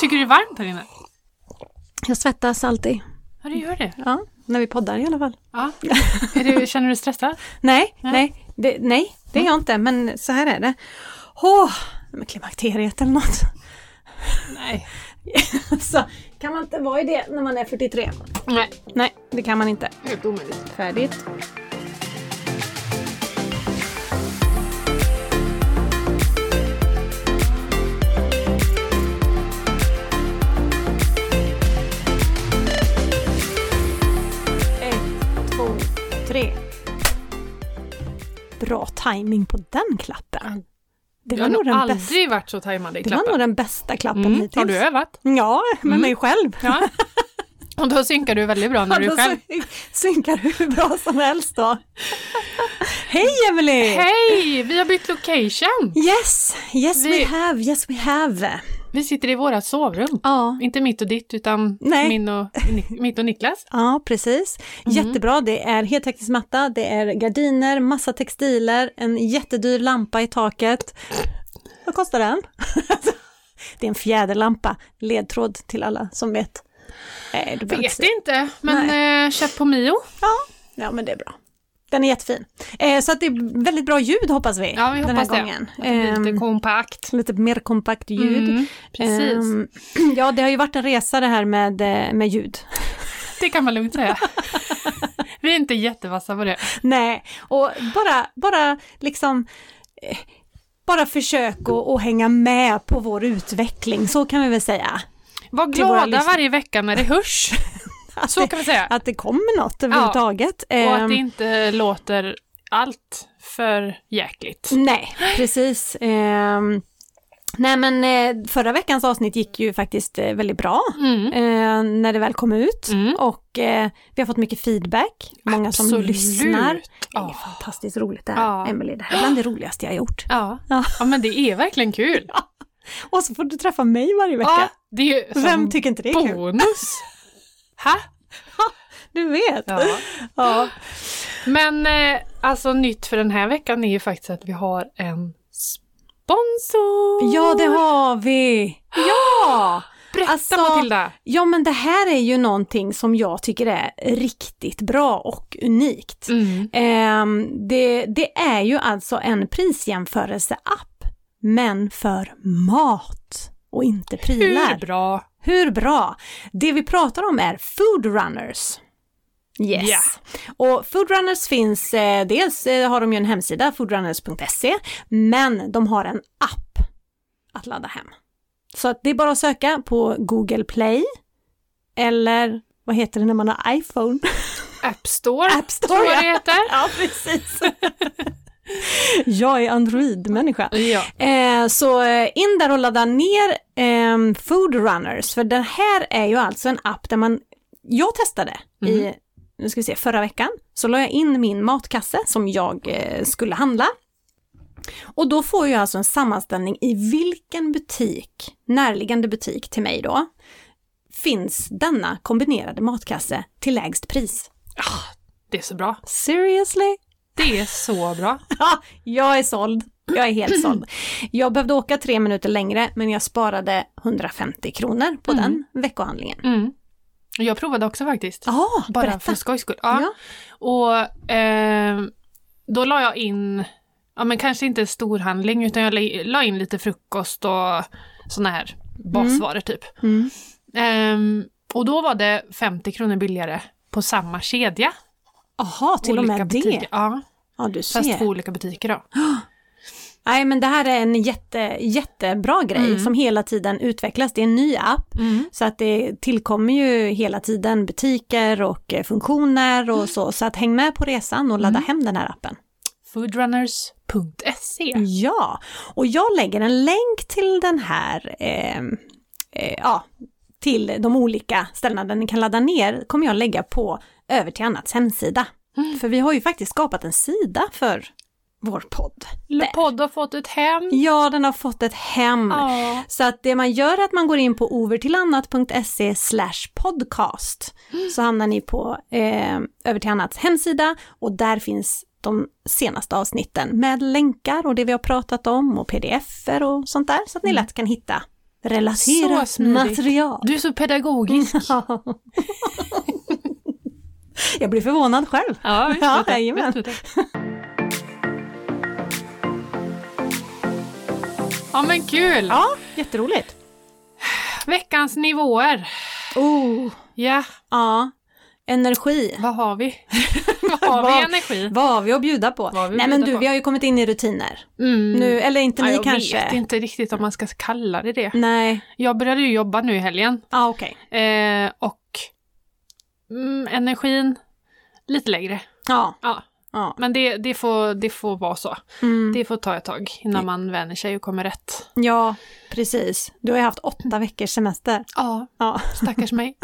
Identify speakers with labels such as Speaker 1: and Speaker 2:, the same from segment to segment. Speaker 1: Tycker du det är varmt här inne?
Speaker 2: Jag svettas alltid.
Speaker 1: Ja, det gör det.
Speaker 2: Ja, när vi poddar i alla fall.
Speaker 1: Ja. Är du, känner du dig stressad?
Speaker 2: Nej, nej, det, nej, det är jag inte, men så här är det. Åh, men klimakteriet eller något.
Speaker 1: Nej.
Speaker 2: så, kan man inte vara i det när man är 43?
Speaker 1: Nej,
Speaker 2: Nej, det kan man inte.
Speaker 1: helt omöjligt.
Speaker 2: Färdigt. Ett, två, tre. Bra timing på den klappen. Det
Speaker 1: Jag
Speaker 2: var,
Speaker 1: har
Speaker 2: nog
Speaker 1: nog
Speaker 2: den,
Speaker 1: aldrig
Speaker 2: bästa,
Speaker 1: varit så tajmad i
Speaker 2: det var nog
Speaker 1: klappen.
Speaker 2: den bästa klappen
Speaker 1: Mm.
Speaker 2: hittills.
Speaker 1: Har du övat?
Speaker 2: Ja, med mig själv.
Speaker 1: Ja. Och då synkar du väldigt bra när du är
Speaker 2: Ja, då
Speaker 1: själv.
Speaker 2: Alltså, syn- synkar du hur bra som helst då. Hej Emily!
Speaker 1: Hej! Vi har bytt location.
Speaker 2: Yes, yes
Speaker 1: Vi-
Speaker 2: we have, yes we have.
Speaker 1: Vi sitter i våra sovrum.
Speaker 2: Ja,
Speaker 1: Inte mitt och ditt, utan
Speaker 2: Nej.
Speaker 1: min och, Ni- mitt och Niklas.
Speaker 2: ja precis.
Speaker 1: Mhm.
Speaker 2: Jättebra, det är heltäckningsmatta, matta, det är gardiner, massa textiler, en jättedyr lampa i taket. Vad kostar den? det är en fjäderlampa, ledtråd till alla som vet. Nej, du behöver inte
Speaker 1: Vet
Speaker 2: säga.
Speaker 1: inte, men eh, köp på Mio.
Speaker 2: Ja, ja, men det är bra. Den är jättefin. Eh, så att det är väldigt bra ljud hoppas vi,
Speaker 1: Ja, vi
Speaker 2: den
Speaker 1: hoppas
Speaker 2: här
Speaker 1: det.
Speaker 2: gången.
Speaker 1: Att det blir
Speaker 2: Ehm,
Speaker 1: lite kompakt.
Speaker 2: lite mer kompakt ljud.
Speaker 1: Mm, precis.
Speaker 2: Ehm, ja, det har ju varit en resa det här med, eh, med ljud.
Speaker 1: Det kan man lugnt säga. Vi är inte jättevassa på det.
Speaker 2: Nej, och bara, bara liksom eh, bara försök att, att hänga med på vår utveckling, så kan vi väl säga.
Speaker 1: Var
Speaker 2: Till våra
Speaker 1: glada
Speaker 2: lyssnare.
Speaker 1: varje vecka när det hörs.
Speaker 2: Att
Speaker 1: Så
Speaker 2: det,
Speaker 1: kan vi säga.
Speaker 2: att det kommer något överhuvudtaget.
Speaker 1: Och att
Speaker 2: Ehm,
Speaker 1: det inte låter allt för jäkligt.
Speaker 2: Nej, precis. Ehm, nej men eh, förra veckans avsnitt gick ju faktiskt eh, väldigt bra
Speaker 1: Mm.
Speaker 2: eh, när det väl kom ut
Speaker 1: Mm.
Speaker 2: och eh, vi har fått mycket feedback, många som
Speaker 1: Absolut.
Speaker 2: lyssnar. Det är
Speaker 1: Ja.
Speaker 2: fantastiskt roligt det här,
Speaker 1: Ja.
Speaker 2: Emelie. Det här är bland det roligaste jag har gjort.
Speaker 1: Ja.
Speaker 2: Ja.
Speaker 1: ja, men det är verkligen kul.
Speaker 2: Och så får du träffa mig varje
Speaker 1: Ja,
Speaker 2: vecka.
Speaker 1: det är ju som
Speaker 2: Vem tycker inte det är kul?
Speaker 1: bonus. Ha?
Speaker 2: Du vet. Ja.
Speaker 1: Ja. Men eh, alltså nytt för den här veckan är ju faktiskt att vi har en sponsor.
Speaker 2: ja, det har vi. Ja!
Speaker 1: Berätta
Speaker 2: alltså-
Speaker 1: Matilda.
Speaker 2: Ja, men det här är ju någonting som jag tycker är riktigt bra och unikt.
Speaker 1: Mm.
Speaker 2: Ehm, det, det är ju alltså en prisjämförelseapp, men för mat och inte prylar.
Speaker 1: Hur bra?
Speaker 2: Hur bra! Det vi pratar om är foodrunners. Yes.
Speaker 1: Ja.
Speaker 2: Och foodrunners finns, eh, dels eh, har de ju en hemsida, foodrunners.se, men de har en app att ladda hem. Så att det är bara att söka på Google Play, eller vad heter det när man har iPhone?
Speaker 1: App Store,
Speaker 2: App Store,
Speaker 1: tror jag det
Speaker 2: ja.
Speaker 1: heter.
Speaker 2: ja, precis. jag är Android-människa.
Speaker 1: Ja.
Speaker 2: Eh, så eh, in där och ladda ner eh, Food Runners, för den här är ju alltså en app där man, jag testade i, nu ska vi se, förra veckan, så la jag in min matkasse som jag eh, skulle handla. Och då får jag alltså en sammanställning i vilken butik, närliggande butik till mig då, finns denna kombinerade matkasse till lägst pris.
Speaker 1: Det är så bra.
Speaker 2: Seriously?
Speaker 1: Det är så bra.
Speaker 2: Ja, jag är såld. Jag är helt såld. Jag behövde åka tre minuter längre, men jag sparade 150 kronor på den veckohandlingen.
Speaker 1: Mm. Jag provade också faktiskt.
Speaker 2: Ja,
Speaker 1: bara
Speaker 2: berätta.
Speaker 1: för skojs skull. Ja.
Speaker 2: Ja.
Speaker 1: Och ehm, då la jag in, ja men kanske inte storhandling, utan jag la- la in lite frukost och såna här basvaror typ.
Speaker 2: Mm.
Speaker 1: Ehm, och då var det 50 kronor billigare på samma kedja.
Speaker 2: Aha, till och
Speaker 1: olika
Speaker 2: med
Speaker 1: butiker.
Speaker 2: det.
Speaker 1: Ja,
Speaker 2: Ja, du
Speaker 1: fast två
Speaker 2: ser.
Speaker 1: olika butiker då.
Speaker 2: Nej, men det här är en jätte, jättebra grej som hela tiden utvecklas. Det är en ny app,
Speaker 1: Mm.
Speaker 2: så att det tillkommer ju hela tiden butiker och eh, funktioner och så. Så att häng med på resan och ladda hem den här appen.
Speaker 1: Foodrunners.se.
Speaker 2: Ja, och jag lägger en länk till den här, eh, eh, ja, till de olika ställena där ni kan ladda ner, kommer jag lägga på över till annats hemsida. För vi har ju faktiskt skapat en sida för vår podd.
Speaker 1: Le Podd har fått ett hem.
Speaker 2: Ja, den har fått ett hem.
Speaker 1: Ja.
Speaker 2: Så att det man gör är att man går in på overtillannat.se slash podcast. Så hamnar ni på eh, Över till annats hemsida och där finns de senaste avsnitten med länkar och det vi har pratat om och pdf-er och sånt där så att ni lätt kan hitta
Speaker 1: Mm. Så
Speaker 2: relaterat
Speaker 1: smidigt.
Speaker 2: material.
Speaker 1: Du är så pedagogisk.
Speaker 2: jag blir förvånad själv.
Speaker 1: Ja, visst
Speaker 2: Ja,
Speaker 1: vet jag,
Speaker 2: jajamän.
Speaker 1: visst vet jag. Ja men kul!
Speaker 2: Ja, jätteroligt.
Speaker 1: Veckans nivåer.
Speaker 2: Oh.
Speaker 1: Ja,
Speaker 2: Ja, energi.
Speaker 1: vad har vi? vad har vi i
Speaker 2: Vad-
Speaker 1: energi?
Speaker 2: Vad har vi att bjuda på?
Speaker 1: Vad har vi att
Speaker 2: Nej men
Speaker 1: bjuda
Speaker 2: du,
Speaker 1: på?
Speaker 2: vi har ju kommit in i rutiner.
Speaker 1: Mm.
Speaker 2: Nu, eller inte
Speaker 1: Ja,
Speaker 2: ni
Speaker 1: jag
Speaker 2: kanske?
Speaker 1: vet inte riktigt om man ska kalla det det.
Speaker 2: Nej,
Speaker 1: Jag började ju jobba nu i helgen
Speaker 2: ja ah, okej.
Speaker 1: eh, och mm, energin lite lägre.
Speaker 2: Ja.
Speaker 1: Ja,
Speaker 2: ja.
Speaker 1: men det, det, får, det får vara så.
Speaker 2: Mm.
Speaker 1: Det får ta ett tag innan man vänjer sig och kommer rätt.
Speaker 2: ja, precis. Du har ju haft åtta veckors semester.
Speaker 1: Ja,
Speaker 2: Ja,
Speaker 1: stackars mig.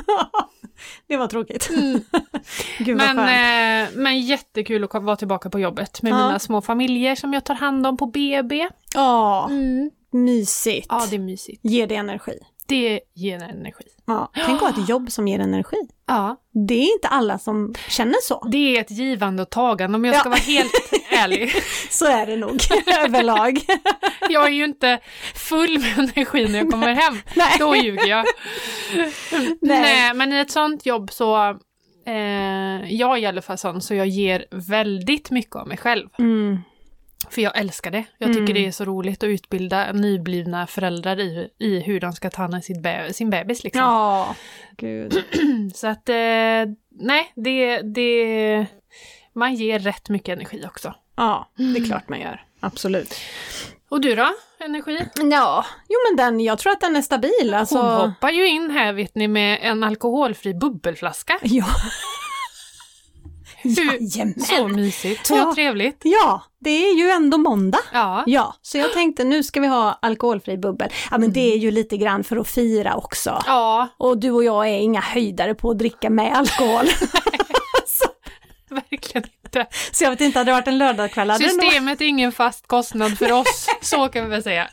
Speaker 2: det var tråkigt. Gud vad
Speaker 1: Men,
Speaker 2: skönt.
Speaker 1: eh, men jättekul att kom- vara tillbaka på jobbet med
Speaker 2: Ja.
Speaker 1: mina små familjer som jag tar hand om på BB.
Speaker 2: Ja,
Speaker 1: Mm.
Speaker 2: mysigt.
Speaker 1: Ja, det är mysigt.
Speaker 2: Ger det energi.
Speaker 1: Det ger energi.
Speaker 2: Ja. Tänk att ha ett jobb som ger energi.
Speaker 1: Ja,
Speaker 2: Det är inte alla som känner så.
Speaker 1: det är ett givande och tagande om jag ska
Speaker 2: Ja.
Speaker 1: vara helt ärlig.
Speaker 2: Så är det nog överlag.
Speaker 1: Jag är ju inte full med energi när jag kommer hem.
Speaker 2: Nej.
Speaker 1: Då ljuger jag.
Speaker 2: Nej.
Speaker 1: Nej. men i ett sånt jobb så, eh, jag är i alla fall sån, så jag ger väldigt mycket av mig själv.
Speaker 2: Mm.
Speaker 1: För jag älskar det. Jag tycker det är så roligt att utbilda nyblivna föräldrar i, i hur de ska ta hand om sitt be- sin bebis. Liksom. Mm,
Speaker 2: Ja, gud.
Speaker 1: Så att, eh, nej, det, det, man ger rätt mycket energi också.
Speaker 2: Ja, det är klart man gör. Absolut.
Speaker 1: Och du då, energi?
Speaker 2: Ja, jo men den, jag tror att den är stabil. Alltså...
Speaker 1: Hon hoppar ju in här vet ni med en alkoholfri bubbelflaska.
Speaker 2: Ja.
Speaker 1: Hur- Så
Speaker 2: Jajamän.
Speaker 1: mysigt, så
Speaker 2: Ja.
Speaker 1: trevligt.
Speaker 2: Ja, det är ju ändå måndag.
Speaker 1: Ja.
Speaker 2: Ja, så jag tänkte nu ska vi ha alkoholfri bubbel. Ja men det är
Speaker 1: Mm.
Speaker 2: ju lite grann för att fira också.
Speaker 1: ja,
Speaker 2: Och du och jag är inga höjdare på att dricka med alkohol.
Speaker 1: verkligen inte.
Speaker 2: så jag vet inte, hade det varit en lördagkväll hade det nog
Speaker 1: Systemet är ingen fast kostnad för oss, så kan vi väl säga.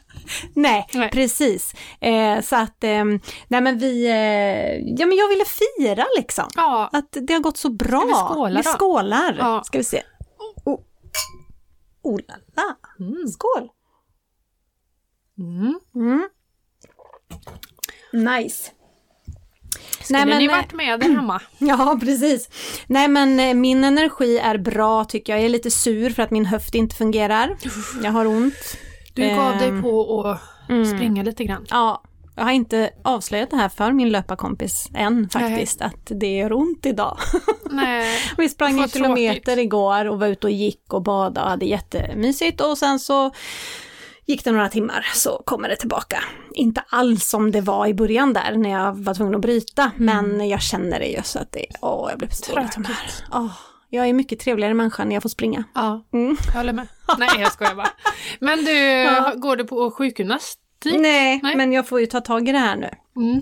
Speaker 2: Nej,
Speaker 1: Nej.
Speaker 2: precis. Eh, så att, ehm, nej men vi, eh, ja men jag ville fira liksom.
Speaker 1: Ja,
Speaker 2: Att det har gått så bra.
Speaker 1: Ska vi skåla
Speaker 2: Vi
Speaker 1: då?
Speaker 2: skålar.
Speaker 1: Ja.
Speaker 2: Ska vi se. Oh, oh la la.
Speaker 1: Mm.
Speaker 2: Skål.
Speaker 1: mm.
Speaker 2: Mm. Nice.
Speaker 1: skulle ni
Speaker 2: eh,
Speaker 1: varit med där hemma?
Speaker 2: Ja, precis. Nej, men eh, min energi är bra tycker jag. Jag är lite sur för att min höft inte fungerar. Jag har ont.
Speaker 1: Du gav
Speaker 2: Ehm,
Speaker 1: dig på att springa lite grann.
Speaker 2: Ja, jag har inte avslöjat det här för min löparkompis än faktiskt, att det gör ont idag.
Speaker 1: Nej.
Speaker 2: Vi sprang en
Speaker 1: Vad
Speaker 2: kilometer
Speaker 1: tråkigt.
Speaker 2: igår och var ute och gick och badade och hade jättemysigt och sen så gick det några timmar så kommer det tillbaka. Inte alls som det var i början där när jag var tvungen att bryta, men jag känner det ju så att det, åh jag blir på så dåligt humör.
Speaker 1: Mm. Tråkigt.
Speaker 2: Åh, jag är mycket trevligare människa när jag får springa.
Speaker 1: Ja,
Speaker 2: Mm.
Speaker 1: jag håller med. Nej, jag skojar bara. Men du, går du på sjukgymnastik?
Speaker 2: Nej,
Speaker 1: Nej.
Speaker 2: men jag får ju ta tag i det här nu.
Speaker 1: Mm.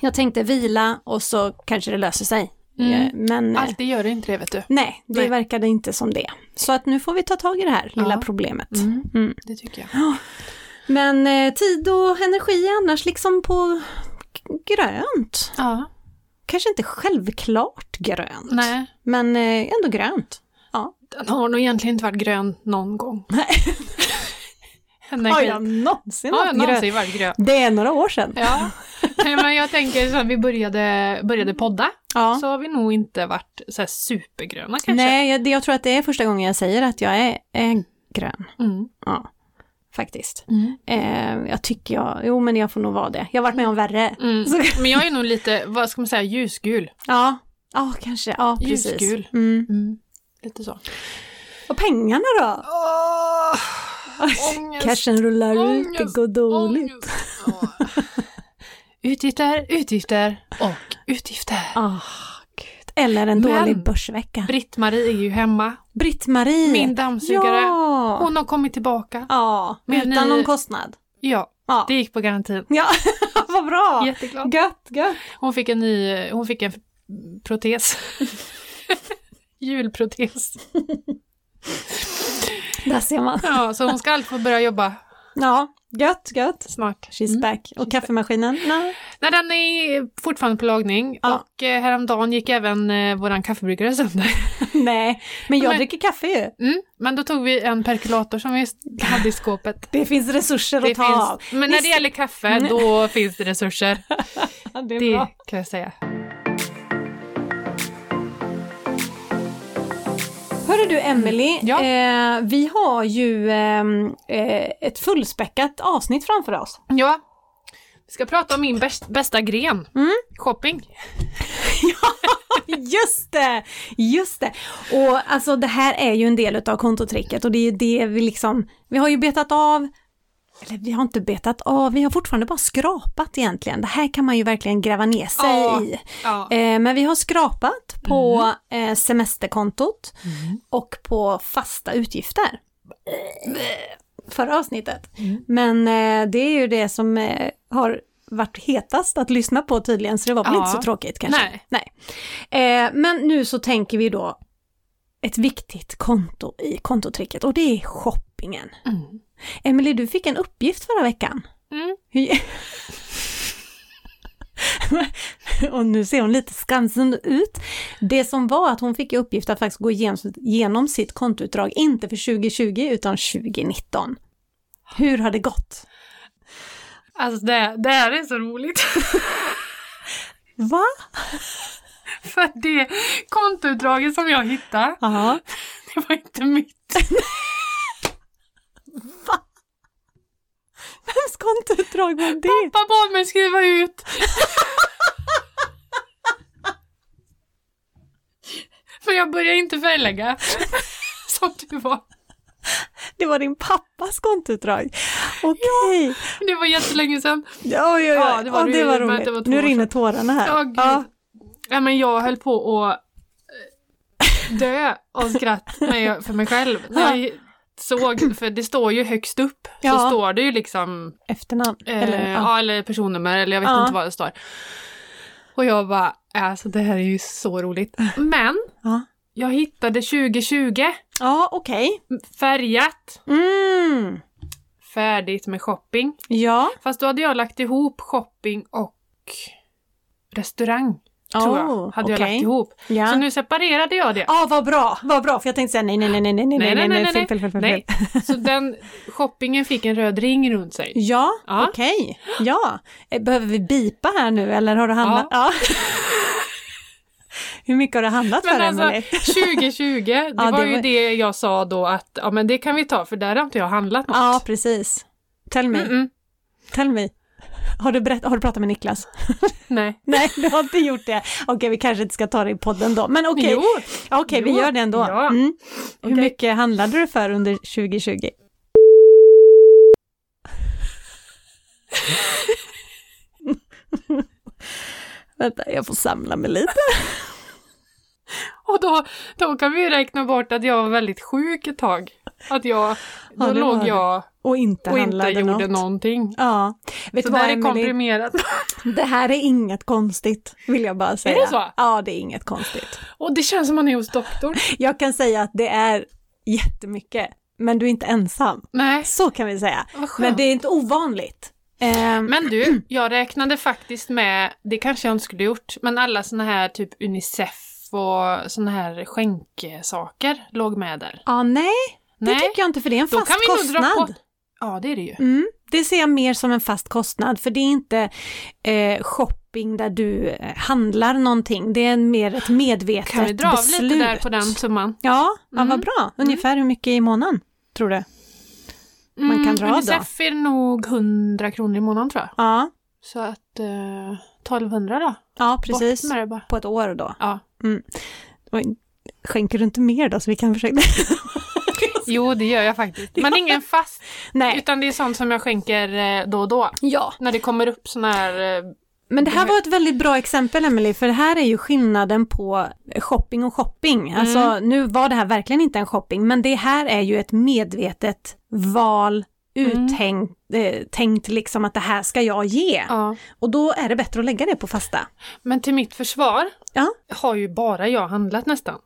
Speaker 2: Jag tänkte vila och så kanske det löser sig.
Speaker 1: Mm.
Speaker 2: Eh, Men eh,
Speaker 1: Alltid gör det inte det, vet du.
Speaker 2: nej, det
Speaker 1: Nej.
Speaker 2: verkade inte som det. Så att nu får vi ta tag i det här lilla
Speaker 1: Ja.
Speaker 2: problemet.
Speaker 1: Mm.
Speaker 2: Mm.
Speaker 1: Det tycker jag.
Speaker 2: Men eh, tid och energi är annars liksom på k- grönt.
Speaker 1: Ja,
Speaker 2: Kanske inte självklart grönt,
Speaker 1: nej.
Speaker 2: men eh, ändå grönt. Ja.
Speaker 1: Den har nog egentligen inte varit grön någon gång. Nej. Energi.
Speaker 2: någonsin
Speaker 1: har jag någonsin varit grön?
Speaker 2: Det är några år sedan.
Speaker 1: Ja, Nej, men jag tänker sen vi började, började podda
Speaker 2: Ja.
Speaker 1: så har vi nog inte varit så här supergröna kanske.
Speaker 2: Nej, jag, det- jag tror att det är första gången jag säger att jag är, är grön,
Speaker 1: Mm.
Speaker 2: ja, faktiskt.
Speaker 1: Mm.
Speaker 2: Eh, jag tycker jag, jo men jag får nog vara det. Jag har varit med om värre.
Speaker 1: Mm.
Speaker 2: Så-
Speaker 1: Men jag är nog lite, vad ska man säga, ljusgul.
Speaker 2: Ja, ja kanske. Ja, precis.
Speaker 1: Ljusgul.
Speaker 2: Mm.
Speaker 1: Mm. Lite så.
Speaker 2: Och pengarna då?
Speaker 1: Åh, ångest,
Speaker 2: Cashen rullar ut, Ah! det
Speaker 1: Ångest,
Speaker 2: går dåligt.
Speaker 1: ångest. Åh. Utgifter, utgifter och utgifter.
Speaker 2: Ah, gud. Eller en
Speaker 1: Men-
Speaker 2: dålig börsvecka.
Speaker 1: Britt-Marie är ju hemma,
Speaker 2: Britt-Marie.
Speaker 1: min dammsugare.
Speaker 2: Ja.
Speaker 1: Hon har kommit tillbaka.
Speaker 2: ja.
Speaker 1: Men eh,
Speaker 2: Utan
Speaker 1: ni-
Speaker 2: någon kostnad.
Speaker 1: Ja,
Speaker 2: Ja.
Speaker 1: det gick på garantin.
Speaker 2: ja. Vad bra.
Speaker 1: Jätteglad.
Speaker 2: Gött, gött.
Speaker 1: Hon fick en ny, hon fick en protes. Julprotes.
Speaker 2: Där ser man.
Speaker 1: Ja, så hon ska alltid få börja jobba
Speaker 2: Ja, gött, gött.
Speaker 1: snart. Mm.
Speaker 2: She's back. Och kaffemaskinen? Nej.
Speaker 1: Nej, den är fortfarande på lagning
Speaker 2: Ja.
Speaker 1: och eh, häromdagen gick även eh, våran kaffebryggare sönder.
Speaker 2: Nej, men jag
Speaker 1: Men-
Speaker 2: dricker kaffe ju.
Speaker 1: Mm. Men då tog vi en perkulator som vi hade i skåpet.
Speaker 2: Det finns resurser att ta av.
Speaker 1: finns, men när det
Speaker 2: Visst- Mm.
Speaker 1: gäller kaffe, då finns det resurser.
Speaker 2: Ja, det är
Speaker 1: Det
Speaker 2: bra.
Speaker 1: kan jag säga.
Speaker 2: Hörru du Emelie,
Speaker 1: Mm. Ja.
Speaker 2: eh, vi har ju ehm, eh, ett fullspäckat avsnitt framför oss.
Speaker 1: Ja, vi ska prata om min bäst, bästa gren,
Speaker 2: Mm.
Speaker 1: shopping.
Speaker 2: Just det! Just det! Och alltså det här är ju en del utav kontotricket och det är ju det vi liksom, vi har ju betat av, eller vi har inte betat av, vi har fortfarande bara skrapat egentligen. Det här kan man ju verkligen gräva ner sig
Speaker 1: Ja.
Speaker 2: i.
Speaker 1: Ja. Mm.
Speaker 2: Eh, men vi har skrapat på eh, semesterkontot och på fasta utgifter. Förra avsnittet.
Speaker 1: Mm.
Speaker 2: Men eh, det är ju det som eh, har varit hetast att lyssna på tydligen, så det var väl
Speaker 1: Ja.
Speaker 2: inte så tråkigt kanske.
Speaker 1: Nej.
Speaker 2: Eh, men nu så tänker vi då ett viktigt konto i kontotricket och det är shoppingen.
Speaker 1: Mm.
Speaker 2: Emily, du fick en uppgift förra veckan.
Speaker 1: Mm.
Speaker 2: Hur- och nu ser hon lite skamsen ut. Det som var att hon fick i uppgift att faktiskt gå igenom, igenom sitt kontoutdrag, inte för 2020 utan 2019. Hur har det gått?
Speaker 1: Alltså det, det här är så roligt.
Speaker 2: Va?
Speaker 1: För att det kontoutdraget som jag hittade,
Speaker 2: Ja.
Speaker 1: det var inte mitt.
Speaker 2: Vems kontoutdrag var det?
Speaker 1: Pappa bad mig skriva ut. Men jag började inte förlägga. Som du var.
Speaker 2: Det var din pappas kontoutdrag. Okej.
Speaker 1: Det var jättelänge sedan.
Speaker 2: Oj, oj, oj.
Speaker 1: Ja,
Speaker 2: Ja,
Speaker 1: det
Speaker 2: det
Speaker 1: var
Speaker 2: var,
Speaker 1: det-
Speaker 2: det var
Speaker 1: men
Speaker 2: roligt.
Speaker 1: det var två år sedan.
Speaker 2: nu rinner tårarna här.
Speaker 1: Ja, gud.
Speaker 2: Ja.
Speaker 1: Ja, men jag höll på att eh, dö av skratt med, för mig själv. När jag såg, för det står ju högst upp, så
Speaker 2: Ja.
Speaker 1: står det ju liksom,
Speaker 2: Efternamn.
Speaker 1: eh,
Speaker 2: Eller,
Speaker 1: eller, ja.
Speaker 2: ja.
Speaker 1: eller personnummer eller jag vet
Speaker 2: Ja.
Speaker 1: inte vad det står. Och jag bara, alltså det här är ju så roligt. Men
Speaker 2: Ja,
Speaker 1: jag hittade 2020,
Speaker 2: ja okej.
Speaker 1: färgat,
Speaker 2: Mm.
Speaker 1: färdigt med shopping.
Speaker 2: Ja.
Speaker 1: Fast då hade jag lagt ihop shopping och restaurang, tror jag.
Speaker 2: Oh,
Speaker 1: Hade jag
Speaker 2: okej.
Speaker 1: lagt ihop.
Speaker 2: Ja.
Speaker 1: Så nu separerade jag det.
Speaker 2: Ja, vad bra, vad bra, för jag tänkte säga nej, nej, nej, nej, nej, nej, nej, nej, fel, fel, fel, fel.
Speaker 1: Nej. Så den shoppingen fick en röd ring runt sig.
Speaker 2: Ja,
Speaker 1: Ja.
Speaker 2: okej. Ja. Eh, Behöver vi bipa här nu eller har du handlat? Ja. Hur mycket har du handlat för,
Speaker 1: Men
Speaker 2: Emelie?
Speaker 1: alltså 2020, det
Speaker 2: Ja, det
Speaker 1: var ju
Speaker 2: var-
Speaker 1: det jag sa då att ja men det kan vi ta för där har inte jag handlat något. Mm,
Speaker 2: Ja, precis. Tell me,
Speaker 1: Mm-mm.
Speaker 2: tell me. Har du, berätt, har du pratat med Niklas?
Speaker 1: Nej.
Speaker 2: Nej, du har inte gjort det. Okej, vi kanske inte ska ta det i podden då, men okej.
Speaker 1: Jo,
Speaker 2: Ja, Okej, vi
Speaker 1: Jo.
Speaker 2: gör det ändå.
Speaker 1: Ja.
Speaker 2: Mm. Hur
Speaker 1: Okej.
Speaker 2: mycket handlade du för under 2020? Vänta, jag får samla mig lite.
Speaker 1: och då, då kan vi ju räkna bort att jag var väldigt sjuk ett tag. Att jag, då
Speaker 2: Ja, det var
Speaker 1: låg
Speaker 2: det.
Speaker 1: jag
Speaker 2: Och inte
Speaker 1: och inte
Speaker 2: handlade
Speaker 1: gjorde
Speaker 2: något.
Speaker 1: någonting.
Speaker 2: Ja. Vet
Speaker 1: Så
Speaker 2: du vad,
Speaker 1: där är
Speaker 2: Emelie?
Speaker 1: komprimerat.
Speaker 2: Det här är inget konstigt, vill jag bara säga.
Speaker 1: det så?
Speaker 2: Ja, det är inget konstigt.
Speaker 1: Och det känns som man är hos doktorn.
Speaker 2: Jag kan säga att det är jättemycket, men du är inte ensam.
Speaker 1: Nej,
Speaker 2: Så kan vi säga.
Speaker 1: vad skönt.
Speaker 2: Men det är inte ovanligt. Ehm,
Speaker 1: Men du, jag räknade faktiskt med, det kanske jag inte skulle gjort, men alla såna här typ Unicef och såna här skänkesaker låg med där.
Speaker 2: Ja, nej, det
Speaker 1: Nej,
Speaker 2: tycker jag inte för det är en
Speaker 1: då
Speaker 2: fast
Speaker 1: kan vi nog
Speaker 2: kostnad.
Speaker 1: dra på... Ja, det är det ju.
Speaker 2: Mm, det ser jag mer som en fast kostnad, för det är inte eh, shopping där du eh, handlar någonting, det är en- mer ett medvetet
Speaker 1: Kan vi dra av
Speaker 2: beslut.
Speaker 1: lite där på den summan?
Speaker 2: Ja, ja
Speaker 1: Mm.
Speaker 2: vad bra. Ungefär hur mycket i månaden, tror du? Man kan dra av då.
Speaker 1: Mm, Unicef är nog 100 kronor i månaden tror jag.
Speaker 2: Ja,
Speaker 1: Så att eh, 1200 då.
Speaker 2: ja precis.
Speaker 1: Bort med det bara.
Speaker 2: På ett år då.
Speaker 1: Ja.
Speaker 2: Oj, skänker du inte mer då, så vi kan försöka?
Speaker 1: Jo, det gör jag faktiskt. Men ingen fast,
Speaker 2: nej.
Speaker 1: utan det är sånt som jag skänker eh, då och då.
Speaker 2: Ja,
Speaker 1: När det kommer upp såna här... eh,
Speaker 2: Men det här var ett väldigt bra exempel Emily, för det här är ju skillnaden på shopping och
Speaker 1: Mm.
Speaker 2: shopping. Alltså nu var det här verkligen inte en shopping, men det här är ju ett medvetet val,
Speaker 1: Mm.
Speaker 2: uttänkt, eh, tänkt liksom att det här ska jag ge.
Speaker 1: Ja.
Speaker 2: Och då är det bättre att lägga det på fasta.
Speaker 1: Men till mitt försvar
Speaker 2: Ja.
Speaker 1: har ju bara jag handlat nästan.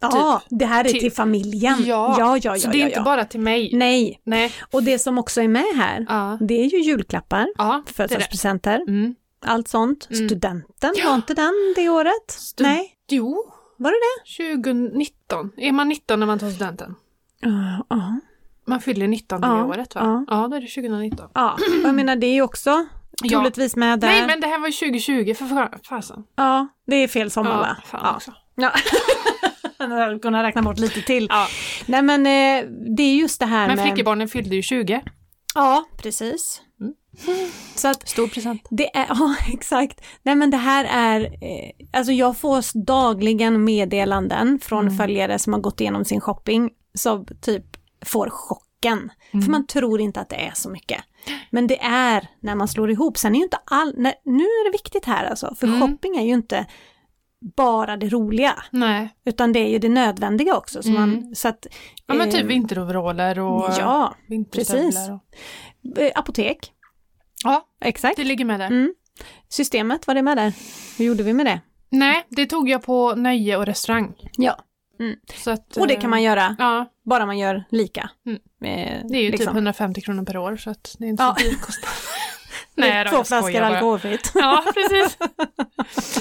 Speaker 2: Ja, det här är
Speaker 1: Typ.
Speaker 2: till familjen.
Speaker 1: Ja.
Speaker 2: Mm. ja, ja, ja.
Speaker 1: så det är
Speaker 2: ja,
Speaker 1: inte
Speaker 2: ja.
Speaker 1: bara till mig.
Speaker 2: Nej,
Speaker 1: Nej.
Speaker 2: och det som också är med här,
Speaker 1: Ja.
Speaker 2: det är ju julklappar,
Speaker 1: Ja, det är det.
Speaker 2: födelsedagspresenter,
Speaker 1: Mm.
Speaker 2: allt sånt.
Speaker 1: Mm.
Speaker 2: Studenten,
Speaker 1: Ja.
Speaker 2: var inte den det året?
Speaker 1: Stu-
Speaker 2: Nej,
Speaker 1: Jo,
Speaker 2: var det det?
Speaker 1: 2019. Är man 19 när man tar studenten?
Speaker 2: Ja, ja.
Speaker 1: Man fyller 19
Speaker 2: Ja,
Speaker 1: det året va?
Speaker 2: ja.
Speaker 1: Ja, då är det 2019.
Speaker 2: Ja, och jag menar det är ju också
Speaker 1: Ja.
Speaker 2: troligtvis med där.
Speaker 1: Nej, men det här var ju 2020 för fa- fasen.
Speaker 2: Ja, det är fel sommar
Speaker 1: Ja,
Speaker 2: va?
Speaker 1: fan alltså.
Speaker 2: ja.
Speaker 1: också.
Speaker 2: Ja. Jag hade kunnat räkna bort lite till.
Speaker 1: Ja.
Speaker 2: Nej men eh, det är just det här
Speaker 1: Men
Speaker 2: med...
Speaker 1: flickebarnen fyllde ju 20.
Speaker 2: Ja, precis.
Speaker 1: Mm.
Speaker 2: Så att
Speaker 1: Stor present.
Speaker 2: det är, ja exakt. Nej men det här är, eh, alltså jag får dagligen meddelanden från
Speaker 1: Mm.
Speaker 2: följare som har gått igenom sin shopping som typ får chocken.
Speaker 1: Mm.
Speaker 2: För man tror inte att det är så mycket. Men det är när man slår ihop. Sen är ju inte all, nej, nu är det viktigt här alltså, för
Speaker 1: Mm.
Speaker 2: shopping är ju inte bara det roliga.
Speaker 1: Nej.
Speaker 2: Utan det är ju det nödvändiga också. Så
Speaker 1: Mm.
Speaker 2: man, så att,
Speaker 1: Ja, men typ
Speaker 2: eh,
Speaker 1: vinteroveraller och eh,
Speaker 2: Ja, precis.
Speaker 1: vinterstövlar. Och...
Speaker 2: eh, apotek.
Speaker 1: Ja,
Speaker 2: Exakt.
Speaker 1: det ligger med där.
Speaker 2: Mm. Systemet, var det med där? Hur gjorde vi med det?
Speaker 1: Nej, det tog jag på nöje och restaurang.
Speaker 2: Ja. Mm.
Speaker 1: Så att, eh,
Speaker 2: Och det kan man göra,
Speaker 1: Ja,
Speaker 2: bara man gör lika.
Speaker 1: Mm.
Speaker 2: Eh,
Speaker 1: det är ju
Speaker 2: liksom.
Speaker 1: typ 150 kronor per år så att det är inte
Speaker 2: Ja.
Speaker 1: så dyr kostnad.
Speaker 2: Det är
Speaker 1: då,
Speaker 2: Två
Speaker 1: jag skojar
Speaker 2: flaskor
Speaker 1: bara.
Speaker 2: alkoholfritt.
Speaker 1: Ja, precis.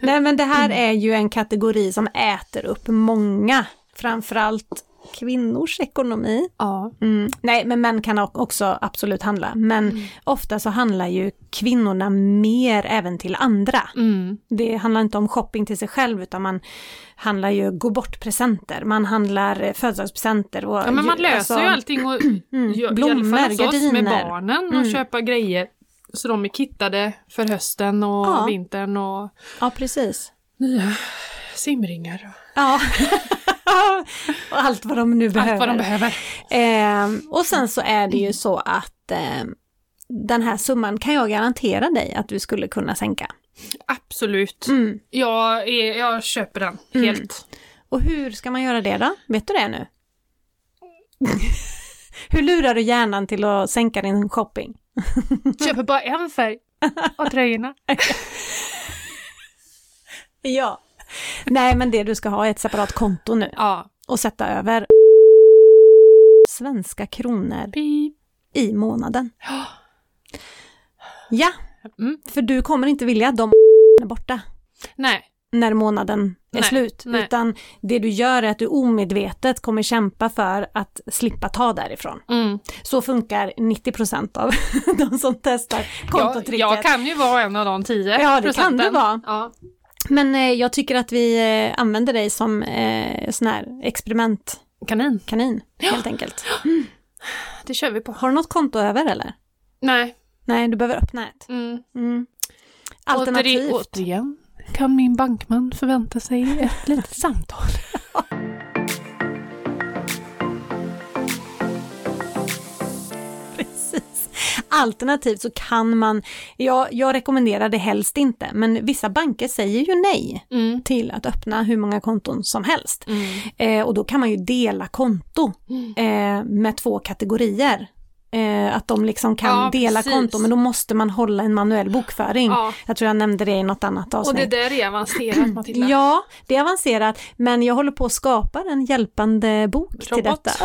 Speaker 2: Nej men det här
Speaker 1: Mm.
Speaker 2: är ju en kategori som äter upp många, framförallt kvinnors ekonomi.
Speaker 1: Ja.
Speaker 2: Mm. Nej men män kan o- också absolut handla, men
Speaker 1: Mm.
Speaker 2: ofta så handlar ju kvinnorna mer även till andra.
Speaker 1: Mm.
Speaker 2: Det handlar inte om shopping till sig själv utan man handlar ju gå bort-presenter, man handlar eh, födelsedagspresenter. och-
Speaker 1: ja, men man löser
Speaker 2: alltså,
Speaker 1: ju allting och
Speaker 2: Mm,
Speaker 1: gör-
Speaker 2: blommor,
Speaker 1: i alla fall hos oss med
Speaker 2: gardiner.
Speaker 1: barnen och
Speaker 2: Mm.
Speaker 1: köpa grejer så de är kittade för hösten och
Speaker 2: Ja.
Speaker 1: vintern och
Speaker 2: Ja, precis.
Speaker 1: simringar och
Speaker 2: Ja. och allt vad de nu behöver.
Speaker 1: allt vad de behöver.
Speaker 2: Eh, och sen så är det ju så att eh, den här summan kan jag garantera dig att du skulle kunna sänka.
Speaker 1: Absolut.
Speaker 2: Mm.
Speaker 1: Jag, är, jag köper den
Speaker 2: Mm.
Speaker 1: helt.
Speaker 2: Och hur ska man göra det då? Vet du det nu? hur lurar du hjärnan till att sänka din shopping?
Speaker 1: Köper bara en färg av tröjorna.
Speaker 2: Ja. Nej, men det du ska ha är ett separat konto nu
Speaker 1: Ja.
Speaker 2: och sätta över svenska kronor
Speaker 1: Pip.
Speaker 2: i månaden. Ja,
Speaker 1: Mm.
Speaker 2: för du kommer inte vilja att de är borta
Speaker 1: Nej.
Speaker 2: när månaden är
Speaker 1: Nej,
Speaker 2: slut,
Speaker 1: nej.
Speaker 2: utan det du gör är att du omedvetet kommer kämpa för att slippa ta därifrån.
Speaker 1: Mm.
Speaker 2: Så funkar 90% av de som testar
Speaker 1: Jag,
Speaker 2: kontotricket.
Speaker 1: jag kan ju vara en av de tio
Speaker 2: Ja, det kan
Speaker 1: procenten.
Speaker 2: du vara.
Speaker 1: Ja.
Speaker 2: Men eh, jag tycker att vi eh, använder dig som eh, sån här experiment.
Speaker 1: Kanin.
Speaker 2: kanin helt enkelt.
Speaker 1: Det kör vi på.
Speaker 2: Har du något konto över eller?
Speaker 1: Nej.
Speaker 2: Nej, du behöver öppna ett.
Speaker 1: Mm.
Speaker 2: Mm.
Speaker 1: Återi-
Speaker 2: Alternativt.
Speaker 1: Återigen kan min bankman förvänta sig ett litet samtal.
Speaker 2: Precis. Alternativt så kan man, ja, jag rekommenderar det helst inte, men vissa banker säger ju nej
Speaker 1: Mm.
Speaker 2: till att öppna hur många konton som helst.
Speaker 1: Mm.
Speaker 2: Eh, och då kan man ju dela konto eh, med två kategorier. Eh, att de liksom kan
Speaker 1: Ja,
Speaker 2: dela
Speaker 1: precis.
Speaker 2: konto, men då måste man hålla en manuell bokföring.
Speaker 1: Ja.
Speaker 2: Jag tror jag nämnde det i något annat
Speaker 1: Och
Speaker 2: avsnitt.
Speaker 1: det där är avancerat Matilda.
Speaker 2: Ja, det är avancerat, men jag håller på att skapa en hjälpande bok till
Speaker 1: Robot.
Speaker 2: detta.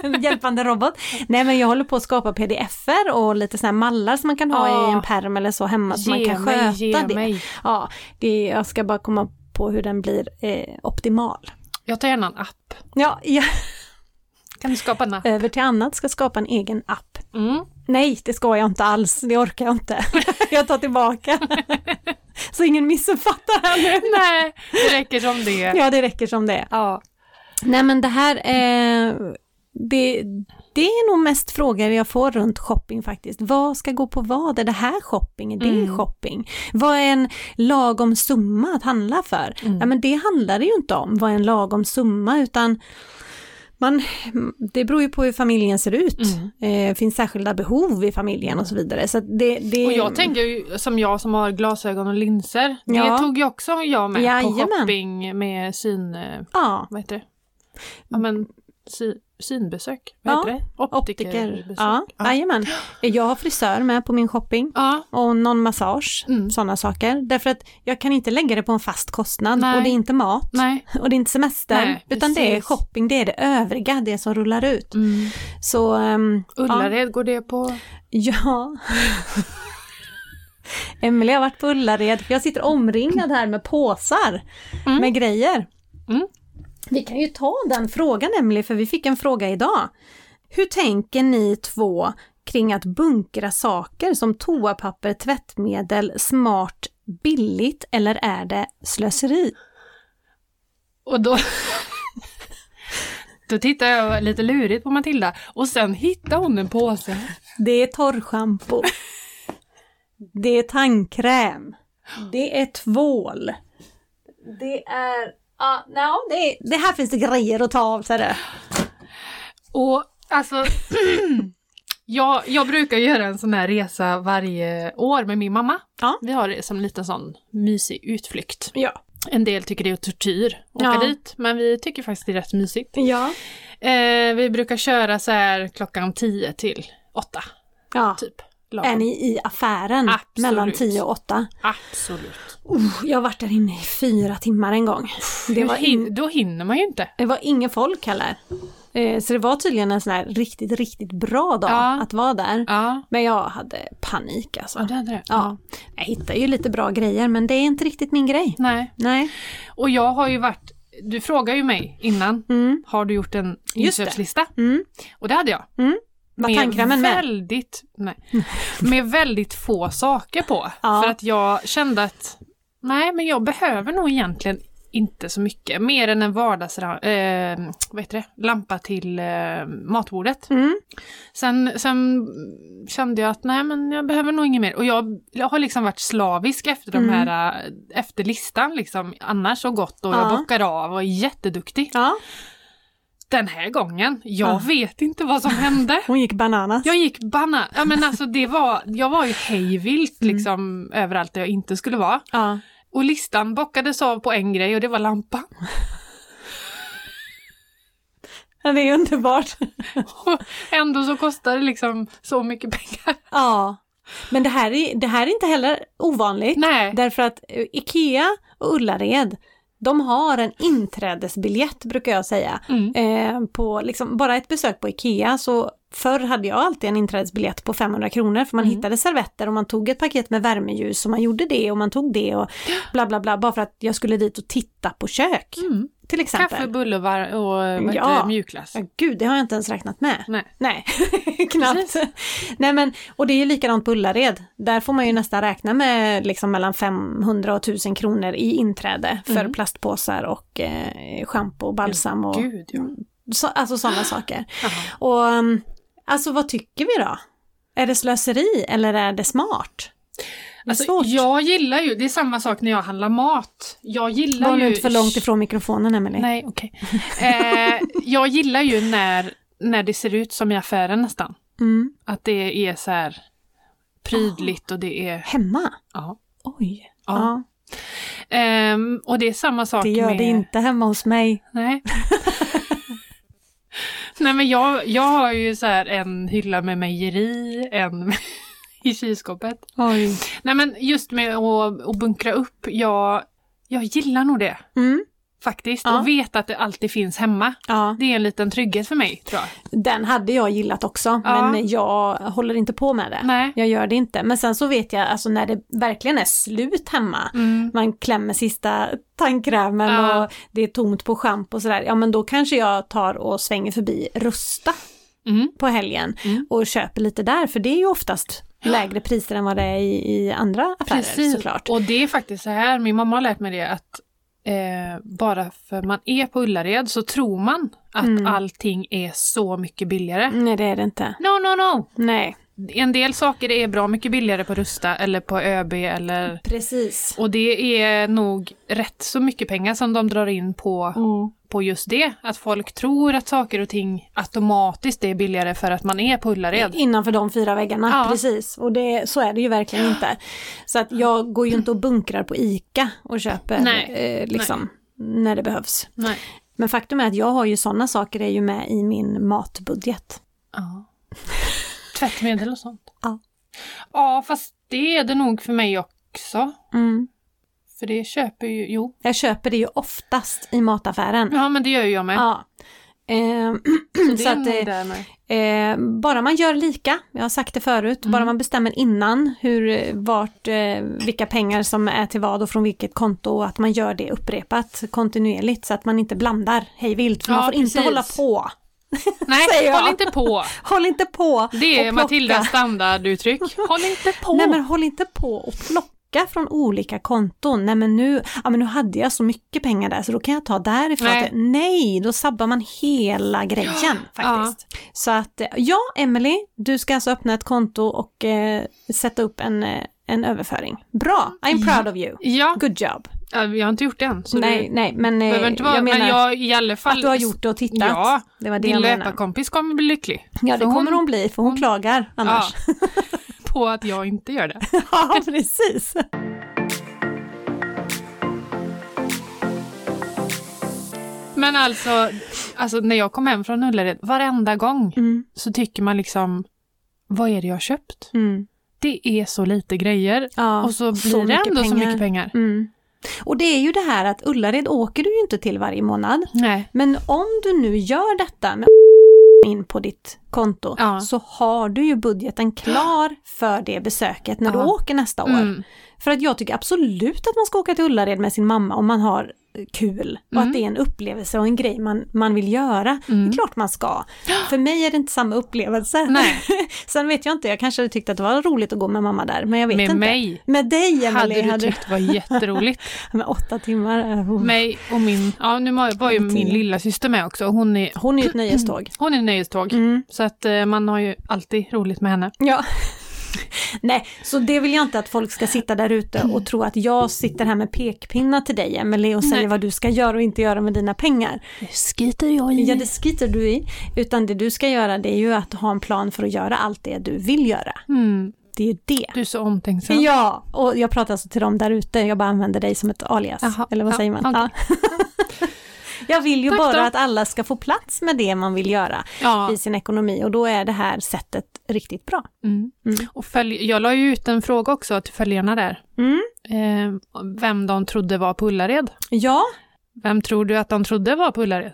Speaker 2: en hjälpande robot. Nej, men jag håller på att skapa pdf-er och lite sådana här mallar som man kan ha
Speaker 1: Ja.
Speaker 2: i en perm eller så hemma så man
Speaker 1: Ge
Speaker 2: kan
Speaker 1: mig,
Speaker 2: sköta
Speaker 1: ge
Speaker 2: det.
Speaker 1: mig.
Speaker 2: Ja, det. Jag ska bara komma på hur den blir eh, optimal.
Speaker 1: Jag tar gärna en app.
Speaker 2: Ja, jag,
Speaker 1: Kan du skapa en app?
Speaker 2: över till annat, ska skapa en egen app.
Speaker 1: Mm.
Speaker 2: Nej, det ska jag inte alls, det orkar jag inte. jag tar tillbaka. så ingen missuppfattar här nu.
Speaker 1: Nej, det räcker som det.
Speaker 2: Ja, det räcker som det är.
Speaker 1: Ja.
Speaker 2: Nej men det här, eh, det, det är nog mest frågor jag får runt shopping faktiskt. Vad ska gå på vad? Är det här shopping? Är det
Speaker 1: Mm.
Speaker 2: shopping? Vad är en lagom summa att handla för?
Speaker 1: Mm.
Speaker 2: Ja men det handlar det ju inte om, vad är en lagom summa, utan man, det beror ju på hur familjen ser ut.
Speaker 1: Mm.
Speaker 2: Eh, finns särskilda behov i familjen och så vidare. Så att det, det,
Speaker 1: Och jag tänker ju, som jag som har glasögon och linser,
Speaker 2: Ja.
Speaker 1: det tog ju också jag med på
Speaker 2: Jajamän.
Speaker 1: shopping med syn... eh,
Speaker 2: ja,
Speaker 1: Vad heter det? Ja men, sy, synbesök? Vad
Speaker 2: Ja,
Speaker 1: heter det?
Speaker 2: optiker.
Speaker 1: Optikerbesök.
Speaker 2: Ja, jajamän. Jag har frisör med på min shopping.
Speaker 1: ja.
Speaker 2: och någon massage,
Speaker 1: Mm.
Speaker 2: sådana saker. Därför att jag kan inte lägga det på en fast kostnad
Speaker 1: Nej.
Speaker 2: och det är inte mat
Speaker 1: Nej.
Speaker 2: och det är inte semester
Speaker 1: Nej,
Speaker 2: utan det är
Speaker 1: precis.
Speaker 2: shopping, det är det övriga, det som rullar ut.
Speaker 1: Mm.
Speaker 2: Så ehm,
Speaker 1: Ullared, går det på?
Speaker 2: ja, Emelie har varit på Ullared, för jag sitter omringad här med påsar
Speaker 1: Mm.
Speaker 2: med grejer.
Speaker 1: Mm.
Speaker 2: Vi kan ju ta den frågan Emelie, för vi fick en fråga idag. Hur tänker ni två kring att bunkra saker som toapapper, tvättmedel, smart, billigt eller är det slöseri?
Speaker 1: Och då... Då tittade jag lite lurigt på Matilda och sen hittade hon en påse.
Speaker 2: Det är torrschampo. Det är tandkräm. Det är tvål. Det är... Ja, no, det, det här finns det grejer att ta av, så är det.
Speaker 1: Och alltså, jag, jag brukar göra en sån här resa varje år med min mamma.
Speaker 2: Ja.
Speaker 1: Vi har det som en liten sån mysig utflykt.
Speaker 2: Ja.
Speaker 1: En del tycker det är tortyr att åka
Speaker 2: Ja.
Speaker 1: dit, men vi tycker faktiskt det är rätt mysigt.
Speaker 2: Ja.
Speaker 1: Eh, vi brukar köra så här klockan 10 till 8,
Speaker 2: ja.
Speaker 1: typ.
Speaker 2: Är
Speaker 1: lagom.
Speaker 2: ni i affären
Speaker 1: Absolut.
Speaker 2: mellan 10 och 8?
Speaker 1: Absolut.
Speaker 2: Oh, jag har varit där inne i fyra timmar en gång. Det
Speaker 1: Hur
Speaker 2: var,
Speaker 1: hin-
Speaker 2: in,
Speaker 1: då hinner man ju inte.
Speaker 2: det var ingen folk heller. Eh, Så det var tydligen en sån här riktigt, riktigt bra dag
Speaker 1: Ja.
Speaker 2: att vara där.
Speaker 1: Ja,
Speaker 2: Men jag hade panik alltså.
Speaker 1: ja det hade det.
Speaker 2: Ja, jag hittar ju lite bra grejer men det är inte riktigt min grej.
Speaker 1: Nej.
Speaker 2: Nej.
Speaker 1: Och jag har ju varit, du frågar ju mig innan,
Speaker 2: Mm.
Speaker 1: har du gjort en
Speaker 2: Just det.
Speaker 1: inköpslista?
Speaker 2: Mm.
Speaker 1: Och det hade jag.
Speaker 2: Var tandkrämen med?
Speaker 1: väldigt, nej, med väldigt få saker på.
Speaker 2: Ja.
Speaker 1: För att jag kände att nej, men jag behöver nog egentligen inte så mycket. Mer än en vardags... Eh, vad heter det? Lampa till eh, matbordet.
Speaker 2: Mm.
Speaker 1: Sen, sen kände jag att nej, men jag behöver nog inget mer. Och jag, jag har liksom varit slavisk efter, de
Speaker 2: Mm.
Speaker 1: här, eh, efter listan. Liksom. Annars så gott och
Speaker 2: Ja.
Speaker 1: jag bockar av och är jätteduktig.
Speaker 2: Ja.
Speaker 1: Den här gången, jag
Speaker 2: Ja.
Speaker 1: vet inte vad som hände.
Speaker 2: Hon gick bananas.
Speaker 1: Jag gick banna. Ja, men alltså, det var, jag var ju hejvilt
Speaker 2: Mm.
Speaker 1: liksom, överallt där jag inte skulle vara.
Speaker 2: Ja.
Speaker 1: Och listan bockades av på en grej och det var lampan.
Speaker 2: Ja, Det är underbart.
Speaker 1: Och ändå så kostade det liksom så mycket pengar.
Speaker 2: ja. Men det här, är, det här är inte heller ovanligt.
Speaker 1: Nej.
Speaker 2: Därför att eh, IKEA och Ullared, de har en inträdesbiljett brukar jag säga.
Speaker 1: Mm.
Speaker 2: Eh, på liksom, bara ett besök på IKEA så förr hade jag alltid en inträdesbiljett på 500 kronor för man
Speaker 1: Mm.
Speaker 2: hittade servetter och man tog ett paket med värmeljus och man gjorde det och man tog det och bla bla bla bara för att jag skulle dit och titta på kök
Speaker 1: Mm.
Speaker 2: till exempel.
Speaker 1: Kaffe, bulle och, var- och vad heter
Speaker 2: Ja.
Speaker 1: det, mjukglass.
Speaker 2: Ja, gud, det har jag inte ens räknat med.
Speaker 1: Nej.
Speaker 2: Nej, knappt. Nej, men, och det är ju likadant på Ullared. Där får man ju nästan räkna med liksom mellan 500 och 1000 kronor i inträde för
Speaker 1: Mm.
Speaker 2: plastpåsar och eh, schampo och balsam och
Speaker 1: Gud ja.
Speaker 2: så, alltså sådana saker.
Speaker 1: Jaha.
Speaker 2: Och um, alltså vad tycker vi då? Är det slöseri eller är det smart? Det är
Speaker 1: Alltså,
Speaker 2: svårt.
Speaker 1: jag gillar ju, det är samma sak när jag handlar mat. Jag gillar
Speaker 2: Var
Speaker 1: ju...
Speaker 2: nu inte för långt ifrån mikrofonen Emelie.
Speaker 1: Nej, okej. eh, jag gillar ju när, när det ser ut som i affären nästan.
Speaker 2: Mm.
Speaker 1: Att det är så här prydligt och det är...
Speaker 2: Hemma?
Speaker 1: Ja.
Speaker 2: Oj.
Speaker 1: ja. Ehm, och det är samma sak
Speaker 2: det gör
Speaker 1: med...
Speaker 2: det inte hemma hos mig.
Speaker 1: Nej. Nej men jag, jag har ju så här en hylla med mejeri, en i kylskåpet.
Speaker 2: Oj.
Speaker 1: Nej men just med att, att bunkra upp, jag, jag gillar nog det
Speaker 2: Mm.
Speaker 1: faktiskt.
Speaker 2: Ja.
Speaker 1: Och vet att det alltid finns hemma.
Speaker 2: Ja.
Speaker 1: Det är en liten trygghet för mig tror jag.
Speaker 2: Den hade jag gillat också,
Speaker 1: Ja.
Speaker 2: men jag håller inte på med det.
Speaker 1: Nej.
Speaker 2: Jag gör det inte. Men sen så vet jag, alltså när det verkligen är slut hemma,
Speaker 1: Mm.
Speaker 2: man klämmer sista tandkrämen
Speaker 1: Ja.
Speaker 2: och det är tomt på schampo och sådär, ja men då kanske jag tar och svänger förbi Rusta
Speaker 1: Mm.
Speaker 2: på helgen
Speaker 1: Mm.
Speaker 2: och köper lite där, för det är ju oftast lägre priser än vad det är i, i andra affärer såklart.
Speaker 1: och det är faktiskt så här, min mamma har lärt mig det att eh, bara för man är på Ullared så tror man att
Speaker 2: Mm.
Speaker 1: allting är så mycket billigare.
Speaker 2: Nej det är det inte.
Speaker 1: No, no, no!
Speaker 2: Nej,
Speaker 1: En del saker är bra mycket billigare på Rusta eller på ÖB eller...
Speaker 2: precis.
Speaker 1: Och det är nog rätt så mycket pengar som de drar in på,
Speaker 2: Mm.
Speaker 1: på just det. Att folk tror att saker och ting automatiskt är billigare för att man är på Ullared.
Speaker 2: Innanför de fyra väggarna,
Speaker 1: Ja.
Speaker 2: precis. Och det, så är det ju verkligen inte. Så att jag går ju inte och bunkrar på ICA och köper
Speaker 1: Nej.
Speaker 2: Eh, liksom, när det behövs.
Speaker 1: Nej.
Speaker 2: Men faktum är att jag har ju sådana saker är ju med i min matbudget.
Speaker 1: Ja. Tvättmedel och sånt.
Speaker 2: Ja.
Speaker 1: Ja, fast det är det nog för mig också.
Speaker 2: Mm.
Speaker 1: För det köper ju... Jo.
Speaker 2: Jag köper det ju oftast i mataffären.
Speaker 1: Ja, men det gör ju jag med.
Speaker 2: Ja. Ehm,
Speaker 1: Mm. Så,
Speaker 2: så
Speaker 1: det är
Speaker 2: att,
Speaker 1: nog
Speaker 2: eh,
Speaker 1: där med.
Speaker 2: Eh, bara man gör lika, jag har sagt det förut, bara
Speaker 1: Mm.
Speaker 2: man bestämmer innan hur, eh, vart, eh, vilka pengar som är till vad och från vilket konto och att man gör det upprepat kontinuerligt så att man inte blandar hej vilt, för
Speaker 1: Ja,
Speaker 2: man får
Speaker 1: precis.
Speaker 2: inte hålla på.
Speaker 1: Nej,
Speaker 2: säger
Speaker 1: håll
Speaker 2: jag.
Speaker 1: inte på.
Speaker 2: Håll inte på
Speaker 1: Det är
Speaker 2: och plocka.
Speaker 1: Matildas standarduttryck. Håll inte på.
Speaker 2: Nej men håll inte på och plocka från olika konton. Nej men nu, ja, men nu hade jag så mycket pengar där så då kan jag ta därifrån.
Speaker 1: Nej.
Speaker 2: Nej, Nej då sabbar man hela grejen faktiskt. Så att eh, ja, Emily, du ska alltså öppna ett konto och eh, sätta upp en, eh, en överföring. Bra, I'm proud of you.
Speaker 1: Ja,
Speaker 2: Good job.
Speaker 1: ja, jag har inte gjort det än. Så
Speaker 2: nej,
Speaker 1: du
Speaker 2: nej, men eh,
Speaker 1: behöver inte vara,
Speaker 2: jag menar
Speaker 1: men jag i alla fall.
Speaker 2: att du har gjort det och tittat.
Speaker 1: Ja,
Speaker 2: det var det
Speaker 1: Din
Speaker 2: jag menade.
Speaker 1: löparkompis kommer bli lycklig.
Speaker 2: Ja, det
Speaker 1: för hon-
Speaker 2: kommer hon bli, för hon, klagar annars.
Speaker 1: Ja. På att jag inte gör det.
Speaker 2: Ja, precis.
Speaker 1: Men alltså, alltså när jag kom hem från Ullared, varenda gång
Speaker 2: Mm,
Speaker 1: så tycker man liksom, vad är det jag har köpt?
Speaker 2: mm,
Speaker 1: Det är så lite grejer
Speaker 2: ja,
Speaker 1: och så blir det
Speaker 2: mycket
Speaker 1: ändå så mycket pengar.
Speaker 2: Mm. Och det är ju det här att Ullared åker du ju inte till varje månad.
Speaker 1: Nej.
Speaker 2: Men om du nu gör detta med in på ditt konto
Speaker 1: Ja.
Speaker 2: så har du ju budgeten klar för det besöket när du
Speaker 1: Ja.
Speaker 2: åker nästa år.
Speaker 1: Mm.
Speaker 2: För att jag tycker absolut att man ska åka till Ullared med sin mamma om man har kul och
Speaker 1: Mm.
Speaker 2: att det är en upplevelse och en grej man, man vill göra. Det
Speaker 1: Mm.
Speaker 2: är klart man ska. För mig är det inte samma upplevelse.
Speaker 1: Nej.
Speaker 2: Sen vet jag inte, jag kanske hade tyckt att det var roligt att gå med mamma där, men jag vet
Speaker 1: Med
Speaker 2: inte.
Speaker 1: mig
Speaker 2: Med dig
Speaker 1: hade
Speaker 2: Emelie,
Speaker 1: du tyckt det var jätteroligt.
Speaker 2: med åtta timmar. eh, oh.
Speaker 1: mig och min, ja nu var ju min lilla syster med också, hon är,
Speaker 2: Hon är ju ett nöjeståg.
Speaker 1: hon är nöjeståg.
Speaker 2: Mm.
Speaker 1: Så att eh, man har ju alltid roligt med henne.
Speaker 2: Ja. Nej, så det vill jag inte att folk ska sitta där ute och tro att jag sitter här med pekpinnar till dig Emelie och säger
Speaker 1: Nej.
Speaker 2: vad du ska göra och inte göra med dina pengar.
Speaker 1: Det skiter jag
Speaker 2: Ja, det skiter du i. Utan det du ska göra det är ju att ha en plan för att göra allt det du vill göra.
Speaker 1: Mm,
Speaker 2: Det är ju det.
Speaker 1: du är så omtänksam.
Speaker 2: Ja, och jag pratar alltså till dem där ute, jag bara använder dig som ett alias.
Speaker 1: Jaha,
Speaker 2: Eller vad
Speaker 1: ja,
Speaker 2: säger man?
Speaker 1: okej.
Speaker 2: Ja. jag vill ju
Speaker 1: Tack
Speaker 2: bara
Speaker 1: då.
Speaker 2: att alla ska få plats med det man vill göra
Speaker 1: Ja.
Speaker 2: i sin ekonomi och då är det här sättet riktigt bra.
Speaker 1: Mm.
Speaker 2: Mm.
Speaker 1: Och följ, jag la ju ut en fråga också till följarna där.
Speaker 2: Mm.
Speaker 1: Eh, vem de trodde var på Ullared.
Speaker 2: Ja,
Speaker 1: Vem tror du att de trodde var på Ullared?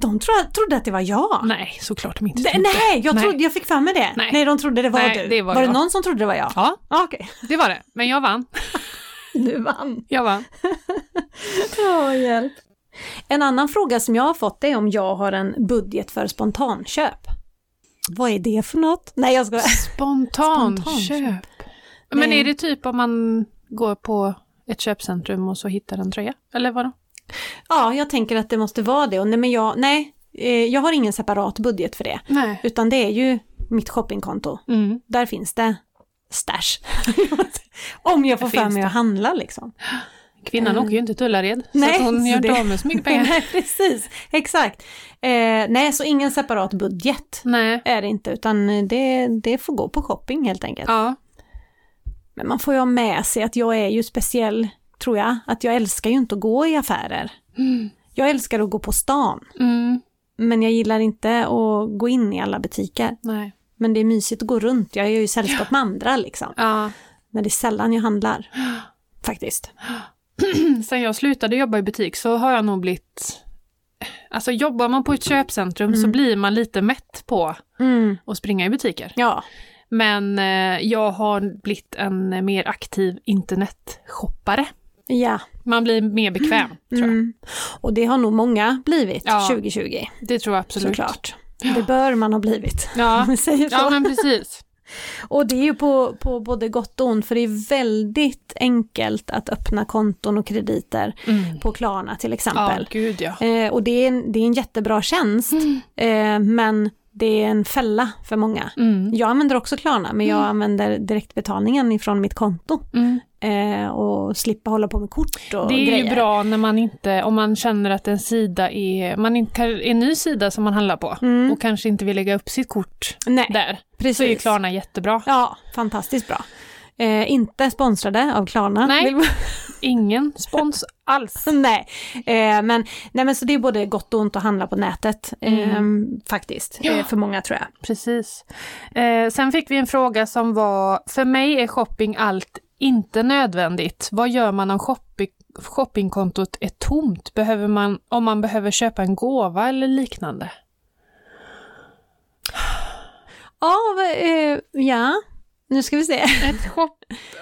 Speaker 2: de tro- trodde att det var jag.
Speaker 1: Nej, såklart de inte
Speaker 2: Det-
Speaker 1: trodde.
Speaker 2: Ah. Mm. nej, jag,
Speaker 1: Nej.
Speaker 2: trodde, jag fick för mig det.
Speaker 1: Nej.
Speaker 2: Nej. de trodde det var
Speaker 1: Nej,
Speaker 2: du.
Speaker 1: det var
Speaker 2: var
Speaker 1: jag.
Speaker 2: det någon som trodde det var jag?
Speaker 1: Ja,
Speaker 2: Ah, Okej,
Speaker 1: det var det. Men jag vann.
Speaker 2: du vann.
Speaker 1: Jag vann.
Speaker 2: Oh, hjälp. En annan fråga som jag har fått är om jag har en budget för spontanköp. Vad är det för något? Nej, jag skojar.
Speaker 1: Spontanköp. Men
Speaker 2: Nej.
Speaker 1: är det typ om man går på ett köpcentrum och så hittar en tröja? Eller vadå?
Speaker 2: Ja, jag tänker att det måste vara det. Och nej, men jag, nej, eh, jag har ingen separat budget för det.
Speaker 1: Nej.
Speaker 2: Utan det är ju mitt shoppingkonto.
Speaker 1: Mm.
Speaker 2: Där finns det stash. Om jag får
Speaker 1: Där finns
Speaker 2: för mig
Speaker 1: det.
Speaker 2: att handla liksom.
Speaker 1: Kvinnan
Speaker 2: Mm.
Speaker 1: åker ju inte till Ullared, så
Speaker 2: Nej,
Speaker 1: att hon
Speaker 2: så
Speaker 1: gör inte
Speaker 2: det-
Speaker 1: av med så mycket pengar.
Speaker 2: Nej, precis. Exakt. Eh, nej, så ingen separat budget
Speaker 1: Nej.
Speaker 2: är det inte, utan det, det får gå på shopping helt enkelt.
Speaker 1: Ja.
Speaker 2: Men man får ju ha med sig att jag är ju speciell, tror jag, att jag älskar ju inte att gå i affärer.
Speaker 1: Mm.
Speaker 2: Jag älskar att gå på stan,
Speaker 1: Mm.
Speaker 2: men jag gillar inte att gå in i alla butiker.
Speaker 1: Nej.
Speaker 2: Men det är mysigt att gå runt, jag är ju i sällskap med andra liksom.
Speaker 1: Ja.
Speaker 2: Men det är sällan jag handlar, faktiskt.
Speaker 1: Sen jag slutade jobba i butik så har jag nog blivit... Alltså jobbar man på ett köpcentrum så blir man lite mätt på
Speaker 2: Mm.
Speaker 1: att springa i butiker.
Speaker 2: Ja,
Speaker 1: Men eh, jag har blivit en mer aktiv internetshoppare.
Speaker 2: ja.
Speaker 1: Man blir mer bekväm, tror jag.
Speaker 2: Mm. Och det har nog många blivit
Speaker 1: Ja.
Speaker 2: 2020.
Speaker 1: Det tror jag absolut.
Speaker 2: Såklart. Det bör man ha blivit.
Speaker 1: Ja.
Speaker 2: Om vi säger så.
Speaker 1: ja, men precis.
Speaker 2: Och det är ju på, på både gott och ont, för det är väldigt enkelt att öppna konton och krediter
Speaker 1: Mm.
Speaker 2: på Klarna till
Speaker 1: Ja,
Speaker 2: exempel.
Speaker 1: gud ja.
Speaker 2: Eh, och det är, en, det är en jättebra tjänst, eh, men det är en fälla för många.
Speaker 1: Mm.
Speaker 2: Jag använder också Klarna, men jag använder direktbetalningen ifrån mitt konto
Speaker 1: Mm.
Speaker 2: eh, och slippa hålla på med kort och
Speaker 1: Det är
Speaker 2: grejer.
Speaker 1: ju bra när man inte, om man känner att en sida är, man inte kan- en ny sida som man handlar på
Speaker 2: Mm.
Speaker 1: och kanske inte vill lägga upp sitt kort
Speaker 2: Nej,
Speaker 1: där,
Speaker 2: precis.
Speaker 1: så är ju Klarna jättebra.
Speaker 2: Ja, fantastiskt bra. Eh, inte sponsrade av Klarna.
Speaker 1: Nej.
Speaker 2: Vill-
Speaker 1: Ingen spons alls.
Speaker 2: nej. Eh, men, nej, men så det är både gott och ont att handla på nätet eh,
Speaker 1: Mm.
Speaker 2: faktiskt, eh, för många tror jag.
Speaker 1: Precis. Eh, sen fick vi en fråga som var, för mig är shopping allt inte nödvändigt. Vad gör man om shopping, shoppingkontot är tomt, behöver man, om man behöver köpa en gåva eller liknande.
Speaker 2: Ja, vad, eh, ja. Nu ska vi se.
Speaker 1: Ett shop...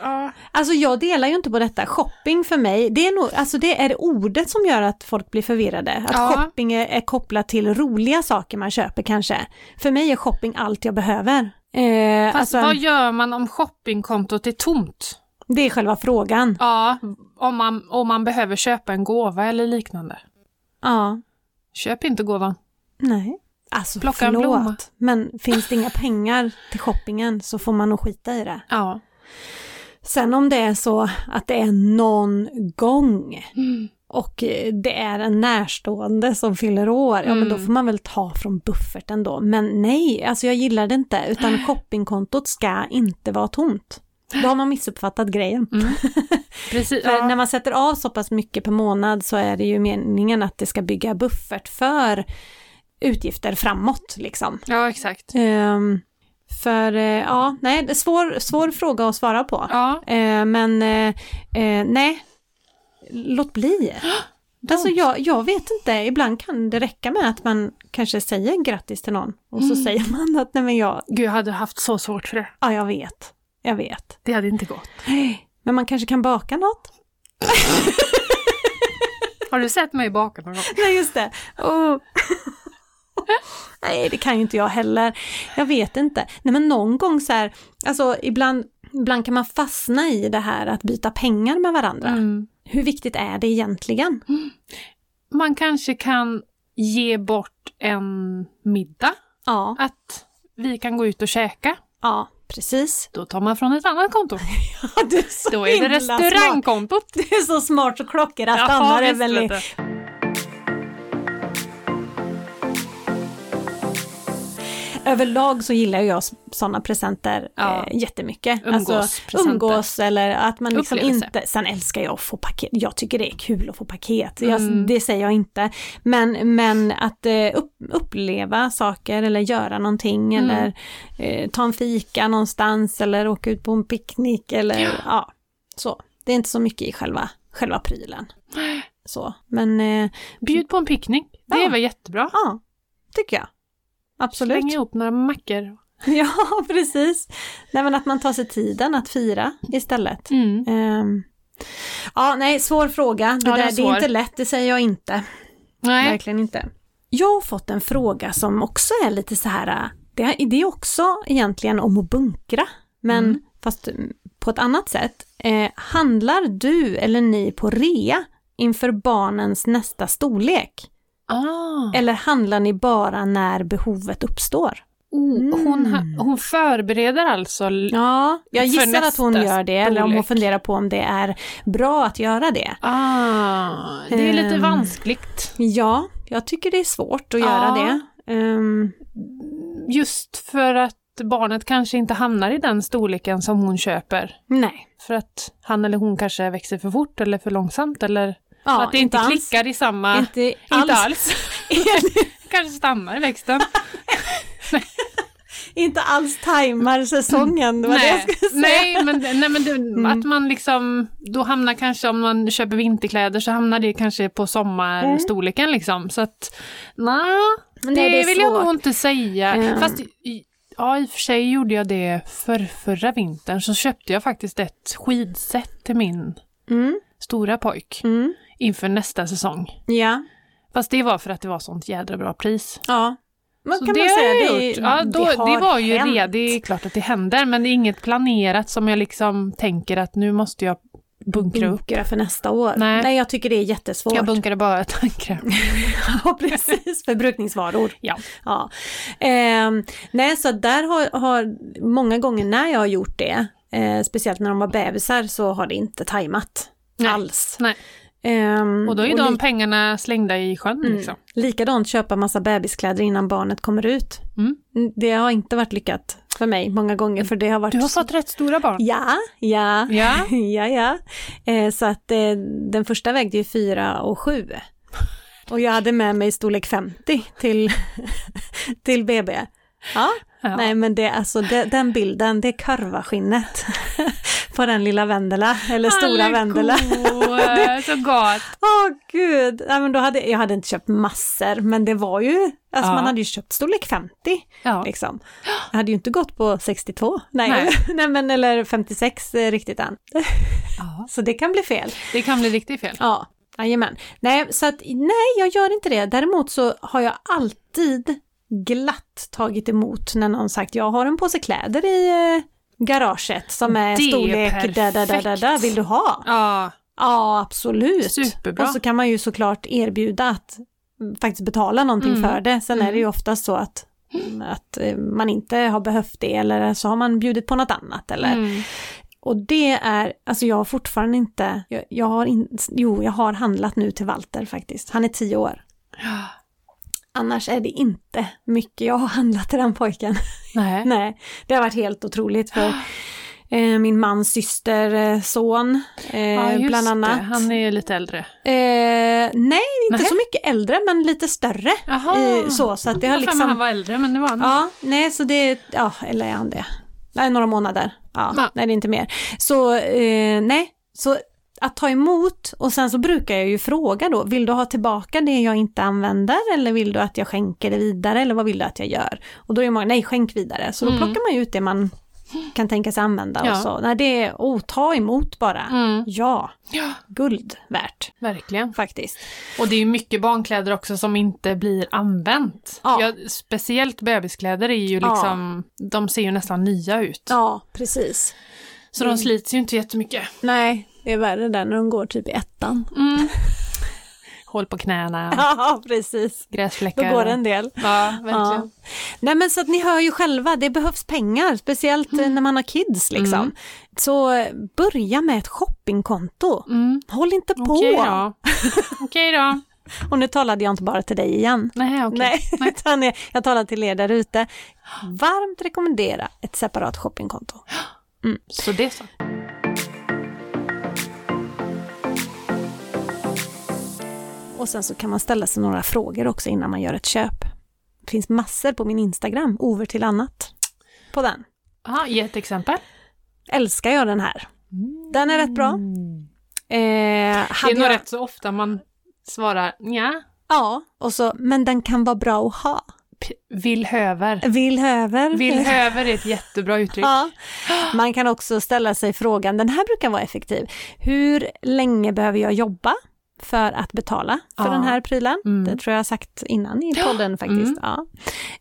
Speaker 1: Ja.
Speaker 2: Alltså jag delar ju inte på detta. Shopping för mig, det är nog, alltså det är ordet som gör att folk blir förvirrade. Att
Speaker 1: Ja.
Speaker 2: shopping är, är kopplat till roliga saker man köper kanske. För mig är shopping allt jag behöver. Eh,
Speaker 1: Fast
Speaker 2: alltså,
Speaker 1: vad gör man om shoppingkontot är tomt?
Speaker 2: Det är själva frågan.
Speaker 1: Ja, om man, om man behöver köpa en gåva eller liknande.
Speaker 2: Ja,
Speaker 1: Köp inte gåvan.
Speaker 2: nej. Alltså
Speaker 1: Plocka en
Speaker 2: förlåt,
Speaker 1: blomma.
Speaker 2: men finns det inga pengar till shoppingen så får man nog skita i det.
Speaker 1: Ja.
Speaker 2: Sen om det är så att det är någon gång och eh, det är en närstående som fyller år, ja men då
Speaker 1: Mm.
Speaker 2: får man väl ta från bufferten då. Men nej, alltså jag gillar det inte, utan shoppingkontot ska inte vara tomt. Då har man missuppfattat grejen.
Speaker 1: Mm. Precis. Eh,
Speaker 2: För när
Speaker 1: Ja.
Speaker 2: man sätter av så pass mycket per månad så är det ju meningen att det ska bygga buffert för utgifter framåt liksom.
Speaker 1: ja, exakt.
Speaker 2: Ehm, för eh, ja, nej, det är svår, svår fråga att svara på.
Speaker 1: Ja,
Speaker 2: Eh, men eh, eh, nej, låt bli. Alltså jag, jag vet inte, ibland kan det räcka med att man kanske säger grattis till någon och så säger man att nej men jag,
Speaker 1: gud jag hade haft så svårt för det.
Speaker 2: ja jag vet, jag vet.
Speaker 1: Det hade inte gått.
Speaker 2: Men man kanske kan baka något?
Speaker 1: Har du sett mig baka någon gång?
Speaker 2: Nej just det. Oh. nej det kan ju inte jag heller. Jag vet inte. Nej men någon gång så här, alltså ibland, ibland kan man fastna i det här att byta pengar med varandra.
Speaker 1: Mm.
Speaker 2: Hur viktigt är det egentligen?
Speaker 1: Man kanske kan ge bort en middag.
Speaker 2: Ja,
Speaker 1: Att vi kan gå ut och käka.
Speaker 2: ja precis.
Speaker 1: Då tar man från ett annat konto.
Speaker 2: Ja, du är så
Speaker 1: Då är det
Speaker 2: himla Smart.
Speaker 1: restaurangkontot.
Speaker 2: Du är så smart och klockrent.
Speaker 1: Jaha,
Speaker 2: Anna är
Speaker 1: visst,
Speaker 2: väldigt...
Speaker 1: vet du.
Speaker 2: Överlag så gillar jag sådana presenter
Speaker 1: Ja.
Speaker 2: eh, jättemycket. Alltså,
Speaker 1: Umgåspresenter.
Speaker 2: umgås eller att man liksom
Speaker 1: Upplevelse.
Speaker 2: inte... Sen älskar jag att få paket. Jag tycker det är kul att få paket. Jag,
Speaker 1: Mm.
Speaker 2: det säger jag inte. Men, men att eh, upp, uppleva saker eller göra någonting
Speaker 1: Mm.
Speaker 2: eller eh, ta en fika någonstans eller åka ut på en picknick eller ja.
Speaker 1: Ja.
Speaker 2: så. Det är inte så mycket i själva, själva prylen. Så, men eh,
Speaker 1: Bjud på en picknick. Det
Speaker 2: Ja.
Speaker 1: är väl jättebra.
Speaker 2: Ja, tycker jag. Absolut.
Speaker 1: Släng ihop några mackor.
Speaker 2: Ja, precis. Nej, men att man tar sig tiden att fira istället.
Speaker 1: Mm.
Speaker 2: Ehm, ja, nej, svår fråga. Det,
Speaker 1: Ja, den
Speaker 2: där, det,
Speaker 1: är
Speaker 2: är
Speaker 1: svår.
Speaker 2: inte lätt, det säger jag inte.
Speaker 1: Nej.
Speaker 2: Verkligen inte. Jag har fått en fråga som också är lite så här, äh, det är, det är också egentligen om att bunkra, men
Speaker 1: Mm.
Speaker 2: fast mm, på ett annat sätt. Eh, handlar du eller ni på rea inför barnens nästa storlek?
Speaker 1: Ah.
Speaker 2: Eller handlar ni bara när behovet uppstår?
Speaker 1: Oh, hon, ha- hon förbereder alltså. l-
Speaker 2: Ja, jag
Speaker 1: För
Speaker 2: gissar att
Speaker 1: nästa
Speaker 2: hon gör det, eller om hon
Speaker 1: storlek.
Speaker 2: funderar på om det är bra att göra det.
Speaker 1: Ah, det är lite
Speaker 2: Ehm.
Speaker 1: vanskligt.
Speaker 2: Ja, jag tycker det är svårt att
Speaker 1: Ja.
Speaker 2: göra det. Ehm,
Speaker 1: Just för att barnet kanske inte hamnar i den storleken som hon köper.
Speaker 2: nej.
Speaker 1: För att han eller hon kanske växer för fort eller för långsamt eller
Speaker 2: Ja,
Speaker 1: att det inte,
Speaker 2: alls.
Speaker 1: klickar i samma... Inte,
Speaker 2: Inte alls.
Speaker 1: alls. kanske stannar i växten.
Speaker 2: inte alls tajmar säsongen, det var det jag skulle säga.
Speaker 1: nej,
Speaker 2: Mm.
Speaker 1: men, nej, men det, att man liksom, då hamnar kanske, om man köper vinterkläder så hamnar det kanske på sommarstorleken liksom. Så att, nej,
Speaker 2: Mm. Men
Speaker 1: det,
Speaker 2: nej, det är
Speaker 1: vill jag nog
Speaker 2: svårt.
Speaker 1: inte säga.
Speaker 2: Mm.
Speaker 1: Fast i- ja, i och för sig gjorde jag det för förra vintern så köpte jag faktiskt ett skidset till min
Speaker 2: Mm,
Speaker 1: stora pojk
Speaker 2: mm,
Speaker 1: inför nästa säsong.
Speaker 2: ja,
Speaker 1: Fast det var för att det var sånt jädra bra pris.
Speaker 2: ja. Men
Speaker 1: Så
Speaker 2: kan
Speaker 1: det
Speaker 2: man säga,
Speaker 1: har jag
Speaker 2: det,
Speaker 1: gjort. Ja, då, det,
Speaker 2: har
Speaker 1: var ju
Speaker 2: hänt.
Speaker 1: re, det är klart att det händer, men det är inget planerat som jag liksom tänker att nu måste jag bunkra upp.
Speaker 2: Bunkra för nästa år. Nej.
Speaker 1: Nej.
Speaker 2: jag tycker det är jättesvårt.
Speaker 1: Jag bunkrade bara tandkräm.
Speaker 2: Ja, precis. Förbrukningsvaror.
Speaker 1: Ja.
Speaker 2: ja. Ehm, nej, så där har, har många gånger när jag har gjort det, eh, speciellt när de var bebisar, så har det inte tajmat
Speaker 1: Nej.
Speaker 2: alls.
Speaker 1: Nej.
Speaker 2: Ehm,
Speaker 1: Och då är de
Speaker 2: li-
Speaker 1: pengarna slängda i sjön
Speaker 2: Mm.
Speaker 1: liksom.
Speaker 2: likadant köpa massa bebiskläder innan barnet kommer ut.
Speaker 1: Mm.
Speaker 2: Det har inte varit lyckat för mig många gånger, för det har varit...
Speaker 1: Du har
Speaker 2: så-
Speaker 1: fått rätt stora barn.
Speaker 2: Ja, ja.
Speaker 1: Ja.
Speaker 2: ja, ja. Eh, så att eh, den första vägde ju 4 och 7. Och jag hade med mig storlek 50 till, till BB. Ja,
Speaker 1: Ja.
Speaker 2: nej men det är alltså det, den bilden, det är kurvaskinnet på den lilla Vendela, eller stora Vendela.
Speaker 1: Hallå, Så gott.
Speaker 2: Åh gud! Nej, men då hade, jag hade inte köpt massor, men det var ju, alltså
Speaker 1: Ja.
Speaker 2: man hade ju köpt storlek 50
Speaker 1: Ja.
Speaker 2: liksom. Jag hade ju inte gått på 62, nej, nej.
Speaker 1: Nej.
Speaker 2: men eller 56 eh, riktigt än.
Speaker 1: Ja.
Speaker 2: Så det kan bli fel.
Speaker 1: Det kan bli riktigt fel.
Speaker 2: Ja, jajamän. Nej, så att nej, jag gör inte det. Däremot så har jag alltid glatt tagit emot när någon sagt jag har en påse kläder i eh, garaget som är,
Speaker 1: Det är
Speaker 2: storlek där, där, där, där, där,
Speaker 1: perfekt.
Speaker 2: vill du ha?
Speaker 1: Ja,
Speaker 2: Ja, absolut.
Speaker 1: Superbra.
Speaker 2: Och så kan man ju såklart erbjuda att mm, faktiskt betala någonting
Speaker 1: Mm.
Speaker 2: för det. Sen är det ju oftast så att, att eh, man inte har behövt det eller så har man bjudit på något annat eller
Speaker 1: mm.
Speaker 2: och det är, alltså jag har fortfarande inte, jag, jag har in, jo jag har handlat nu till Walter faktiskt, han är tio år.
Speaker 1: Ja.
Speaker 2: Annars är det inte mycket jag har handlat till den pojken.
Speaker 1: Nej.
Speaker 2: Nej, det har varit helt otroligt för eh, min mans syster, eh, son, eh,
Speaker 1: Ah. Ja, just
Speaker 2: bland annat.
Speaker 1: Det. Han är ju lite äldre.
Speaker 2: Eh, nej, inte
Speaker 1: Nej.
Speaker 2: så mycket äldre men lite större.
Speaker 1: Jaha.
Speaker 2: I, så, så att det har
Speaker 1: Jag liksom... han
Speaker 2: liksom,
Speaker 1: var äldre, men det var han.
Speaker 2: ja, nej så det, ja eller är han det? Nej, några månader. Ja,
Speaker 1: Ja.
Speaker 2: Nej, det är inte mer. Så eh, nej, så att ta emot och sen så brukar jag ju fråga då, vill du ha tillbaka det jag inte använder eller vill du att jag skänker det vidare eller vad vill du att jag gör? Och då är många, nej skänk vidare, så då
Speaker 1: Mm.
Speaker 2: plockar man ju ut det man kan tänka sig använda
Speaker 1: Ja.
Speaker 2: och så. Nej, det är, oh, ta emot bara.
Speaker 1: Mm.
Speaker 2: Ja,
Speaker 1: Ja,
Speaker 2: guld värt
Speaker 1: verkligen.
Speaker 2: faktiskt.
Speaker 1: Och det är ju mycket barnkläder också som inte blir använt.
Speaker 2: Ja.
Speaker 1: Ja, speciellt bebiskläder är ju
Speaker 2: Ja.
Speaker 1: liksom, de ser ju nästan nya ut.
Speaker 2: Ja, Mm. precis.
Speaker 1: Så de slits ju inte jättemycket.
Speaker 2: Nej, det är värre där när de går typ i ettan.
Speaker 1: Mm. Håll på knäna,
Speaker 2: Ja, precis. Då
Speaker 1: gräsfläckar.
Speaker 2: går det en del.
Speaker 1: Ja, verkligen.
Speaker 2: Ja. Nej men så att ni hör ju själva, det behövs pengar, speciellt eh, när man har kids liksom.
Speaker 1: Mm.
Speaker 2: Så eh, börja med ett shoppingkonto.
Speaker 1: Mm.
Speaker 2: Håll inte på!
Speaker 1: Okej då. Okej då.
Speaker 2: Och nu talade jag inte bara till dig igen.
Speaker 1: Nej, okej.
Speaker 2: Nej, utan jag, jag talar till er där ute. Varmt rekommendera ett separat shoppingkonto.
Speaker 1: Så det så.
Speaker 2: Och sen så kan man ställa sig några frågor också innan man gör ett köp. Det finns massor på min Instagram, over till annat. På den.
Speaker 1: Ja, ge ett exempel.
Speaker 2: Älskar jag den här. Den är rätt bra. Eh,
Speaker 1: Mm. Det
Speaker 2: hade
Speaker 1: är nog
Speaker 2: jag-
Speaker 1: rätt så ofta man svarar ja,
Speaker 2: Ja, och så, men den kan vara bra att ha.
Speaker 1: villhöver.
Speaker 2: Vill över.
Speaker 1: Villhöver är ett jättebra uttryck.
Speaker 2: Ja. Man kan också ställa sig frågan, den här brukar vara effektiv. Hur länge behöver jag jobba för att betala för
Speaker 1: Ja.
Speaker 2: den här prylen?
Speaker 1: Mm.
Speaker 2: Det tror jag har sagt innan i
Speaker 1: Ja.
Speaker 2: podden
Speaker 1: Mm.
Speaker 2: faktiskt. Ja.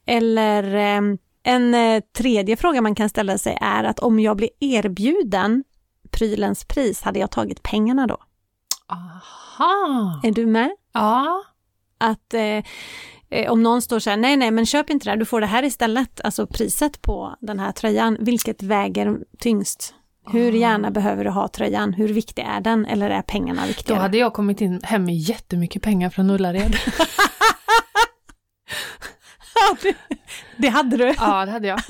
Speaker 2: Eller eh, en eh, tredje fråga man kan ställa sig är att om jag blir erbjuden prylens pris, hade jag tagit pengarna då?
Speaker 1: Aha!
Speaker 2: Är du med?
Speaker 1: Ja.
Speaker 2: att eh, eh, om någon står så här, nej nej men köp inte det här, du får det här istället, alltså priset på den här tröjan, vilket väger tyngst? Hur
Speaker 1: Ah.
Speaker 2: gärna behöver du ha tröjan? Hur viktig är den? Eller är pengarna
Speaker 1: Då
Speaker 2: viktigare?
Speaker 1: hade jag kommit in hem med jättemycket pengar från Ullared.
Speaker 2: Det hade du!
Speaker 1: ja, det hade jag.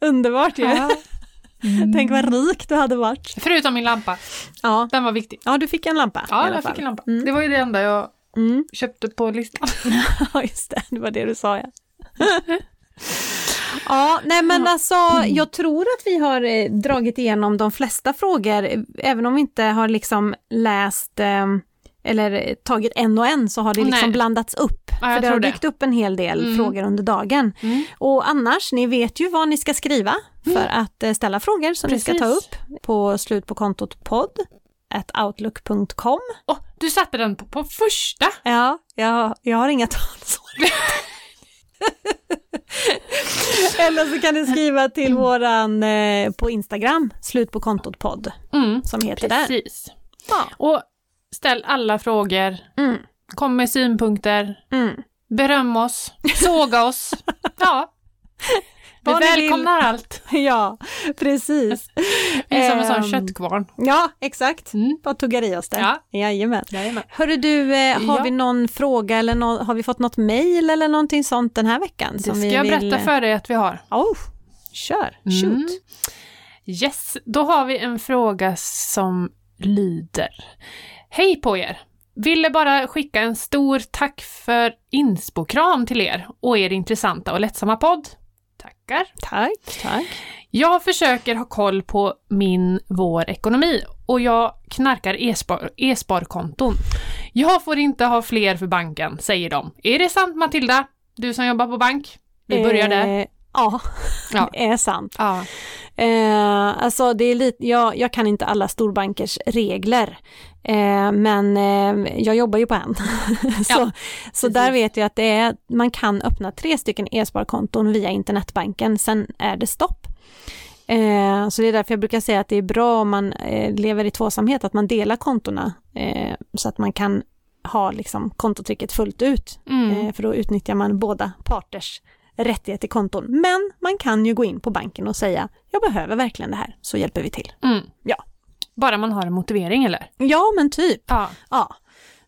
Speaker 2: Underbart ju!
Speaker 1: Ja. mm.
Speaker 2: Tänk vad rik du hade varit!
Speaker 1: Förutom min lampa.
Speaker 2: Ja,
Speaker 1: Den var viktig.
Speaker 2: ja du fick en lampa i
Speaker 1: Ja,
Speaker 2: alla
Speaker 1: jag
Speaker 2: fall.
Speaker 1: fick en lampa.
Speaker 2: Mm.
Speaker 1: Det var ju det enda jag
Speaker 2: Mm.
Speaker 1: köpte på listan.
Speaker 2: Ja, just det, det var det du sa ja. Ja, nej men alltså jag tror att vi har eh, dragit igenom de flesta frågor, eh, även om vi inte har liksom läst eh, eller eh, tagit en och en så har det liksom
Speaker 1: Nej.
Speaker 2: blandats upp.
Speaker 1: Ja, jag
Speaker 2: för det har
Speaker 1: tror det.
Speaker 2: dykt upp en hel del
Speaker 1: Mm.
Speaker 2: frågor under dagen.
Speaker 1: Mm.
Speaker 2: Och annars, ni vet ju vad ni ska skriva för att eh, ställa frågor som ni ska ta
Speaker 1: Precis.
Speaker 2: upp på slut på kontot podd at outlook.com.
Speaker 1: Åh, du satte den på, på första!
Speaker 2: Ja, jag, jag har inga talsår. Eller så kan ni skriva till våran eh, på Instagram, slut på kontot podd,
Speaker 1: Mm.
Speaker 2: som heter där.
Speaker 1: Precis.
Speaker 2: Ja.
Speaker 1: Och ställ alla frågor,
Speaker 2: Mm,
Speaker 1: kom med synpunkter,
Speaker 2: mm.
Speaker 1: beröm oss, såga oss. Ja. Vi
Speaker 2: Vad ni vill.
Speaker 1: välkomnar allt.
Speaker 2: Ja, precis.
Speaker 1: Vi är som en sån
Speaker 2: Ehm.
Speaker 1: köttkvarn.
Speaker 2: Ja, exakt.
Speaker 1: Mm.
Speaker 2: Bara tuggar i oss det.
Speaker 1: Ja.
Speaker 2: Jajamän. Hörru du, eh, har
Speaker 1: Ja.
Speaker 2: vi någon fråga eller nå- har vi fått något mejl eller någonting sånt den här veckan?
Speaker 1: Det ska jag berätta
Speaker 2: eh,
Speaker 1: för dig att vi har.
Speaker 2: Oh, kör, shoot.
Speaker 1: Mm. Yes, då har vi en fråga som lyder. Hej på er! Ville bara skicka en stor tack för inspokram till er och er intressanta och lättsamma podd. Tackar!
Speaker 2: Tack, tack.
Speaker 1: Jag försöker ha koll på min, vår ekonomi och jag knarkar e-spar- e-sparkonton. jag får inte ha fler för banken, säger de. Är det sant Matilda? Du som jobbar på bank? Vi börjar där.
Speaker 2: Eh, ja,
Speaker 1: Ja.
Speaker 2: det är sant.
Speaker 1: Ja.
Speaker 2: Eh, alltså det är lite, jag, jag kan inte alla storbankers regler, eh, men eh, jag jobbar ju på en. så,
Speaker 1: Ja,
Speaker 2: så där vet jag att det är, man kan öppna tre stycken e-sparkonton via internetbanken, sen är det stopp. Eh, så det är därför jag brukar säga att det är bra om man eh, lever i tvåsamhet, att man delar kontona eh, så att man kan ha liksom, kontotricket fullt ut
Speaker 1: Mm.
Speaker 2: Eh, För då utnyttjar man båda parters rättighet till konton. Men man kan ju gå in på banken och säga jag behöver verkligen det här, så hjälper vi till.
Speaker 1: Mm.
Speaker 2: Ja.
Speaker 1: Bara man har en motivering eller?
Speaker 2: Ja, men typ.
Speaker 1: Ja.
Speaker 2: Ja.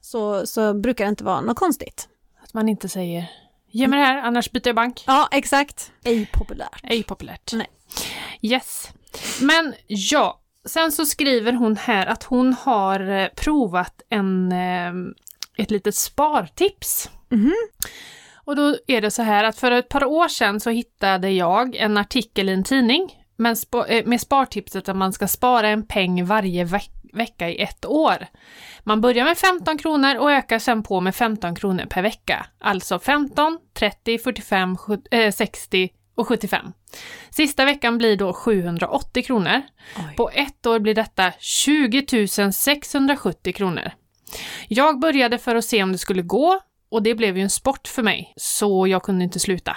Speaker 2: Så, så brukar det inte vara något konstigt.
Speaker 1: Att man inte säger ge mig det här annars byter jag bank.
Speaker 2: Ja, exakt. Ej populärt.
Speaker 1: Ej populärt.
Speaker 2: Nej.
Speaker 1: Yes. Men ja, sen så skriver hon här att hon har eh, provat en, eh, ett litet spartips.
Speaker 2: Mhm.
Speaker 1: Och då är det så här att för ett par år sedan så hittade jag en artikel i en tidning men spa- eh, med spartipset att man ska spara en peng varje veck- vecka i ett år. Man börjar med 15 kronor och ökar sen på med 15 kronor per vecka. Alltså 15, 30, 45, sjut- eh, 60 och 75. Sista veckan blir då 780 kronor.
Speaker 2: Oj.
Speaker 1: På ett år blir detta 20 670 kronor. Jag började för att se om det skulle gå och det blev ju en sport för mig, så jag kunde inte sluta.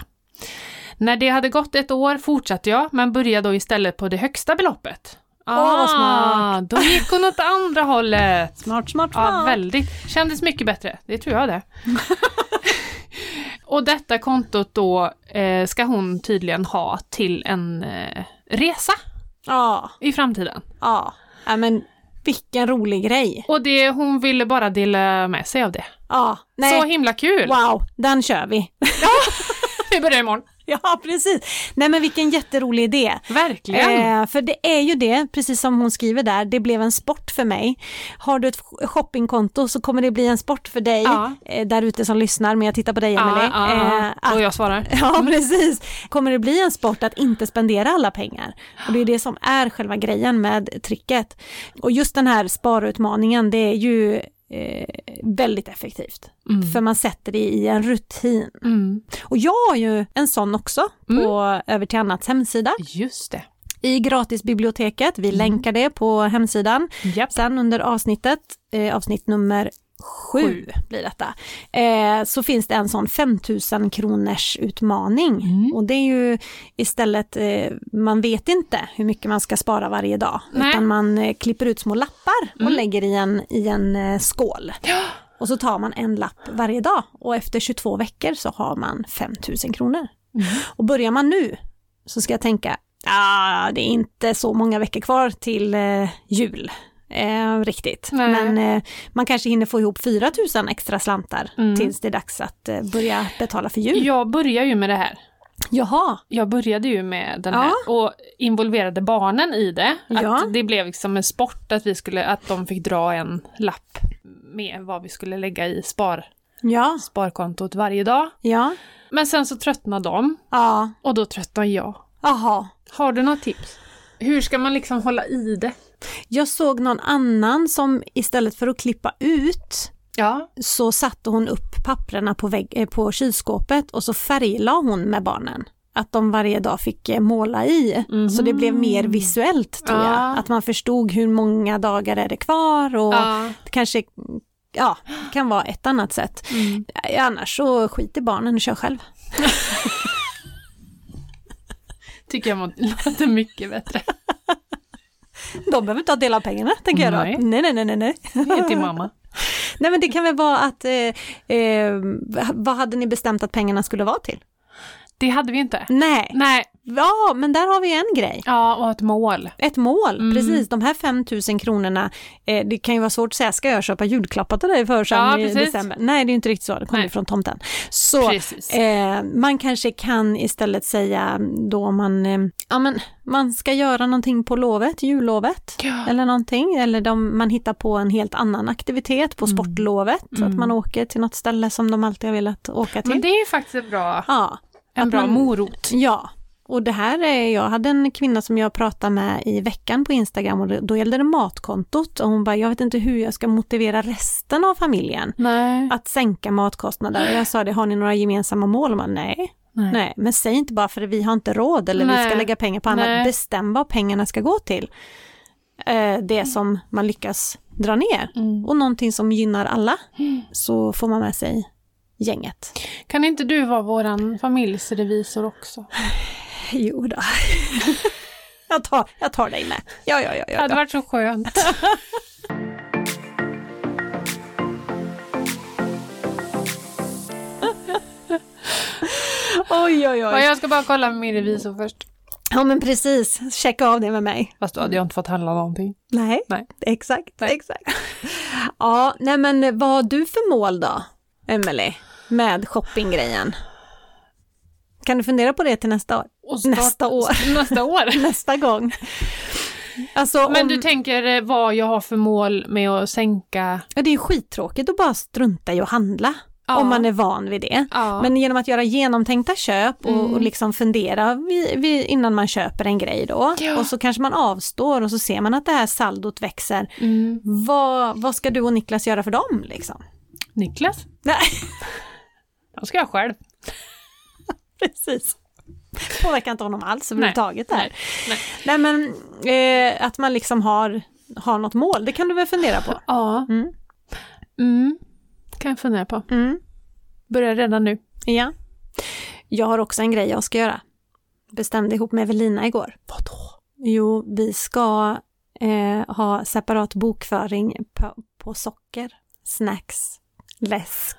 Speaker 1: När det hade gått ett år fortsatte jag, men började då istället på det högsta beloppet. Ah,
Speaker 2: Åh, vad smart.
Speaker 1: Då gick hon åt andra hållet!
Speaker 2: Smart, smart,
Speaker 1: Ja,
Speaker 2: smart.
Speaker 1: väldigt. Kändes mycket bättre. Det tror jag det. och detta kontot då eh, ska hon tydligen ha till en eh, resa
Speaker 2: Ja,
Speaker 1: i framtiden.
Speaker 2: ja. ja, men vilken rolig grej.
Speaker 1: Och det, hon ville bara dela med sig av det.
Speaker 2: Ja, nej.
Speaker 1: Så himla kul!
Speaker 2: Wow, den kör vi.
Speaker 1: Vi börjar imorgon.
Speaker 2: Ja, precis. Nej, men vilken jätterolig idé.
Speaker 1: Verkligen!
Speaker 2: Eh, för det är ju det, precis som hon skriver där, det blev en sport för mig. Har du ett shoppingkonto så kommer det bli en sport för dig
Speaker 1: Ja.
Speaker 2: eh, där ute som lyssnar, men jag tittar på dig
Speaker 1: ja,
Speaker 2: Emelie.
Speaker 1: ja, ja.
Speaker 2: Eh, att-
Speaker 1: Ah, Och jag svarar.
Speaker 2: Ja precis. Kommer det bli en sport att inte spendera alla pengar? Och det är det som är själva grejen med tricket. Och just den här sparutmaningen, det är ju eh, väldigt effektivt.
Speaker 1: Mm.
Speaker 2: För man sätter det i en rutin.
Speaker 1: Mm.
Speaker 2: Och jag har ju en sån också på Över till annats hemsida
Speaker 1: Just det.
Speaker 2: i gratisbiblioteket.
Speaker 1: Mm.
Speaker 2: Vi länkar det på hemsidan.
Speaker 1: Japp.
Speaker 2: Sen under avsnittet, eh, avsnitt nummer sju,
Speaker 1: Sju.
Speaker 2: blir detta, eh, så finns det en sån 5000 kronors utmaning.
Speaker 1: Mm.
Speaker 2: Och det är ju istället, eh, man vet inte hur mycket man ska spara varje dag,
Speaker 1: Nej.
Speaker 2: utan man eh, klipper ut små lappar och
Speaker 1: Mm.
Speaker 2: lägger i en, i en eh, skål. Och så tar man en lapp varje dag och efter 22 veckor så har man 5000 kronor.
Speaker 1: Mm.
Speaker 2: Och börjar man nu så ska jag tänka, ah, det är inte så många veckor kvar till eh, jul. Eh, riktigt.
Speaker 1: Nej.
Speaker 2: Men eh, man kanske hinner få ihop 4 000 extra slantar
Speaker 1: Mm.
Speaker 2: tills det är dags att eh, börja betala för jul.
Speaker 1: Jag börjar ju med det här.
Speaker 2: Jaha,
Speaker 1: Jag började ju med den
Speaker 2: Ja.
Speaker 1: här och involverade barnen i det. Att
Speaker 2: Ja.
Speaker 1: Det blev liksom en sport att, vi skulle, att de fick dra en lapp med vad vi skulle lägga i spar,
Speaker 2: ja,
Speaker 1: sparkontot varje dag.
Speaker 2: ja,
Speaker 1: Men sen så tröttnade de
Speaker 2: ja,
Speaker 1: och då tröttnade jag.
Speaker 2: jaha.
Speaker 1: Har du något tips? Hur ska man liksom hålla i det?
Speaker 2: Jag såg någon annan som istället för att klippa ut
Speaker 1: Ja.
Speaker 2: så satte hon upp papprena på, vägg, eh, på kylskåpet och så färglade hon med barnen. Att de varje dag fick eh, måla i.
Speaker 1: Mhm.
Speaker 2: Så det blev mer visuellt tror
Speaker 1: Ja.
Speaker 2: jag. Att man förstod hur många dagar är det kvar och
Speaker 1: ja.
Speaker 2: det kanske ja, kan vara ett annat sätt.
Speaker 1: Mm.
Speaker 2: Eh, Annars så skiter barnen och kör själv.
Speaker 1: Tycker jag må- låter mycket bättre.
Speaker 2: De behöver inte ha del av pengarna tänker jag då.
Speaker 1: Nej.
Speaker 2: Nej, nej, nej, nej, nej.
Speaker 1: Det är till mamma.
Speaker 2: Nej men det kan väl vara att, eh, eh, vad hade ni bestämt att pengarna skulle vara till?
Speaker 1: Det hade vi inte.
Speaker 2: Nej,
Speaker 1: Nej,
Speaker 2: Ja, men där har vi en grej.
Speaker 1: Ja, och ett mål.
Speaker 2: Ett mål,
Speaker 1: Mm.
Speaker 2: precis. De här 5 000 kronorna, eh, det kan ju vara svårt att säga, ska jag köpa julklappar till dig för sen
Speaker 1: Ja,
Speaker 2: i
Speaker 1: precis.
Speaker 2: december? Nej, det är ju inte riktigt så, det kommer
Speaker 1: Nej.
Speaker 2: ju från tomten. Så
Speaker 1: Precis.
Speaker 2: eh, man kanske kan istället säga då om man, eh, ja men man ska göra någonting på lovet, jullovet.
Speaker 1: Ja.
Speaker 2: Eller någonting, eller de, man hittar på en helt annan aktivitet på sportlovet, så att
Speaker 1: Mm.
Speaker 2: man åker till något ställe som de alltid har velat åka till.
Speaker 1: Men det är ju faktiskt en bra,
Speaker 2: Ja,
Speaker 1: en
Speaker 2: att
Speaker 1: bra
Speaker 2: man-
Speaker 1: morot.
Speaker 2: Ja, och det här är, jag hade en kvinna som jag pratade med i veckan på Instagram och då gällde det matkontot och hon bara, jag vet inte hur jag ska motivera resten av familjen
Speaker 1: Nej.
Speaker 2: att sänka matkostnader. Och jag sa det, har ni några gemensamma mål? Och man, nej,
Speaker 1: Nej.
Speaker 2: nej, men säg inte bara för vi har inte råd eller vi
Speaker 1: Nej.
Speaker 2: ska lägga pengar på annat.
Speaker 1: Nej.
Speaker 2: Bestäm vad pengarna ska gå till. Eh, Det som man lyckas dra ner.
Speaker 1: Mm.
Speaker 2: Och någonting som gynnar alla
Speaker 1: Mm.
Speaker 2: så får man med sig gänget.
Speaker 1: Kan inte du vara våran familjs revisor också?
Speaker 2: Jo då. jag, tar, jag tar dig med. Ja, ja, ja.
Speaker 1: Det
Speaker 2: ja,
Speaker 1: hade
Speaker 2: ja.
Speaker 1: varit så skönt.
Speaker 2: Oj, oj,
Speaker 1: Ja, jag ska bara kolla med min revisor först.
Speaker 2: Ja, men precis. Checka av det med mig.
Speaker 1: Fast då hade jag inte fått handla någonting.
Speaker 2: Nej,
Speaker 1: Nej.
Speaker 2: exakt.
Speaker 1: Nej.
Speaker 2: exakt. Ja, nej men vad har du för mål då, Emelie, med shoppinggrejen? Kan du fundera på det till nästa år?
Speaker 1: Och start-
Speaker 2: Nästa år.
Speaker 1: Nästa år.
Speaker 2: Nästa gång? Alltså,
Speaker 1: Men
Speaker 2: om...
Speaker 1: du tänker eh, vad jag har för mål med att sänka...
Speaker 2: Ja, det är ju skittråkigt att bara strunta i att handla,
Speaker 1: Ja.
Speaker 2: om man är van vid det.
Speaker 1: Ja.
Speaker 2: Men genom att göra genomtänkta köp och,
Speaker 1: Mm.
Speaker 2: och liksom fundera vi, vi, innan man köper en grej då.
Speaker 1: Ja.
Speaker 2: Och så kanske man avstår och så ser man att det här saldot växer.
Speaker 1: Mm.
Speaker 2: Vad, vad ska du och Niklas göra för dem liksom?
Speaker 1: Niklas?
Speaker 2: Nej,
Speaker 1: Den ska jag själv.
Speaker 2: precis. Påverkar inte honom alls överhuvudtaget där.
Speaker 1: Nej.
Speaker 2: Nej, Nej men eh, att man liksom har, har något mål, det kan du väl fundera på?
Speaker 1: Ja.
Speaker 2: Mm.
Speaker 1: Mm. Kan jag fundera på.
Speaker 2: Mm,
Speaker 1: Börja redan nu.
Speaker 2: ja. Jag har också en grej jag ska göra. Bestämde ihop med Evelina igår.
Speaker 1: Vadå?
Speaker 2: Jo, vi ska eh, ha separat bokföring på, på socker, snacks, läsk.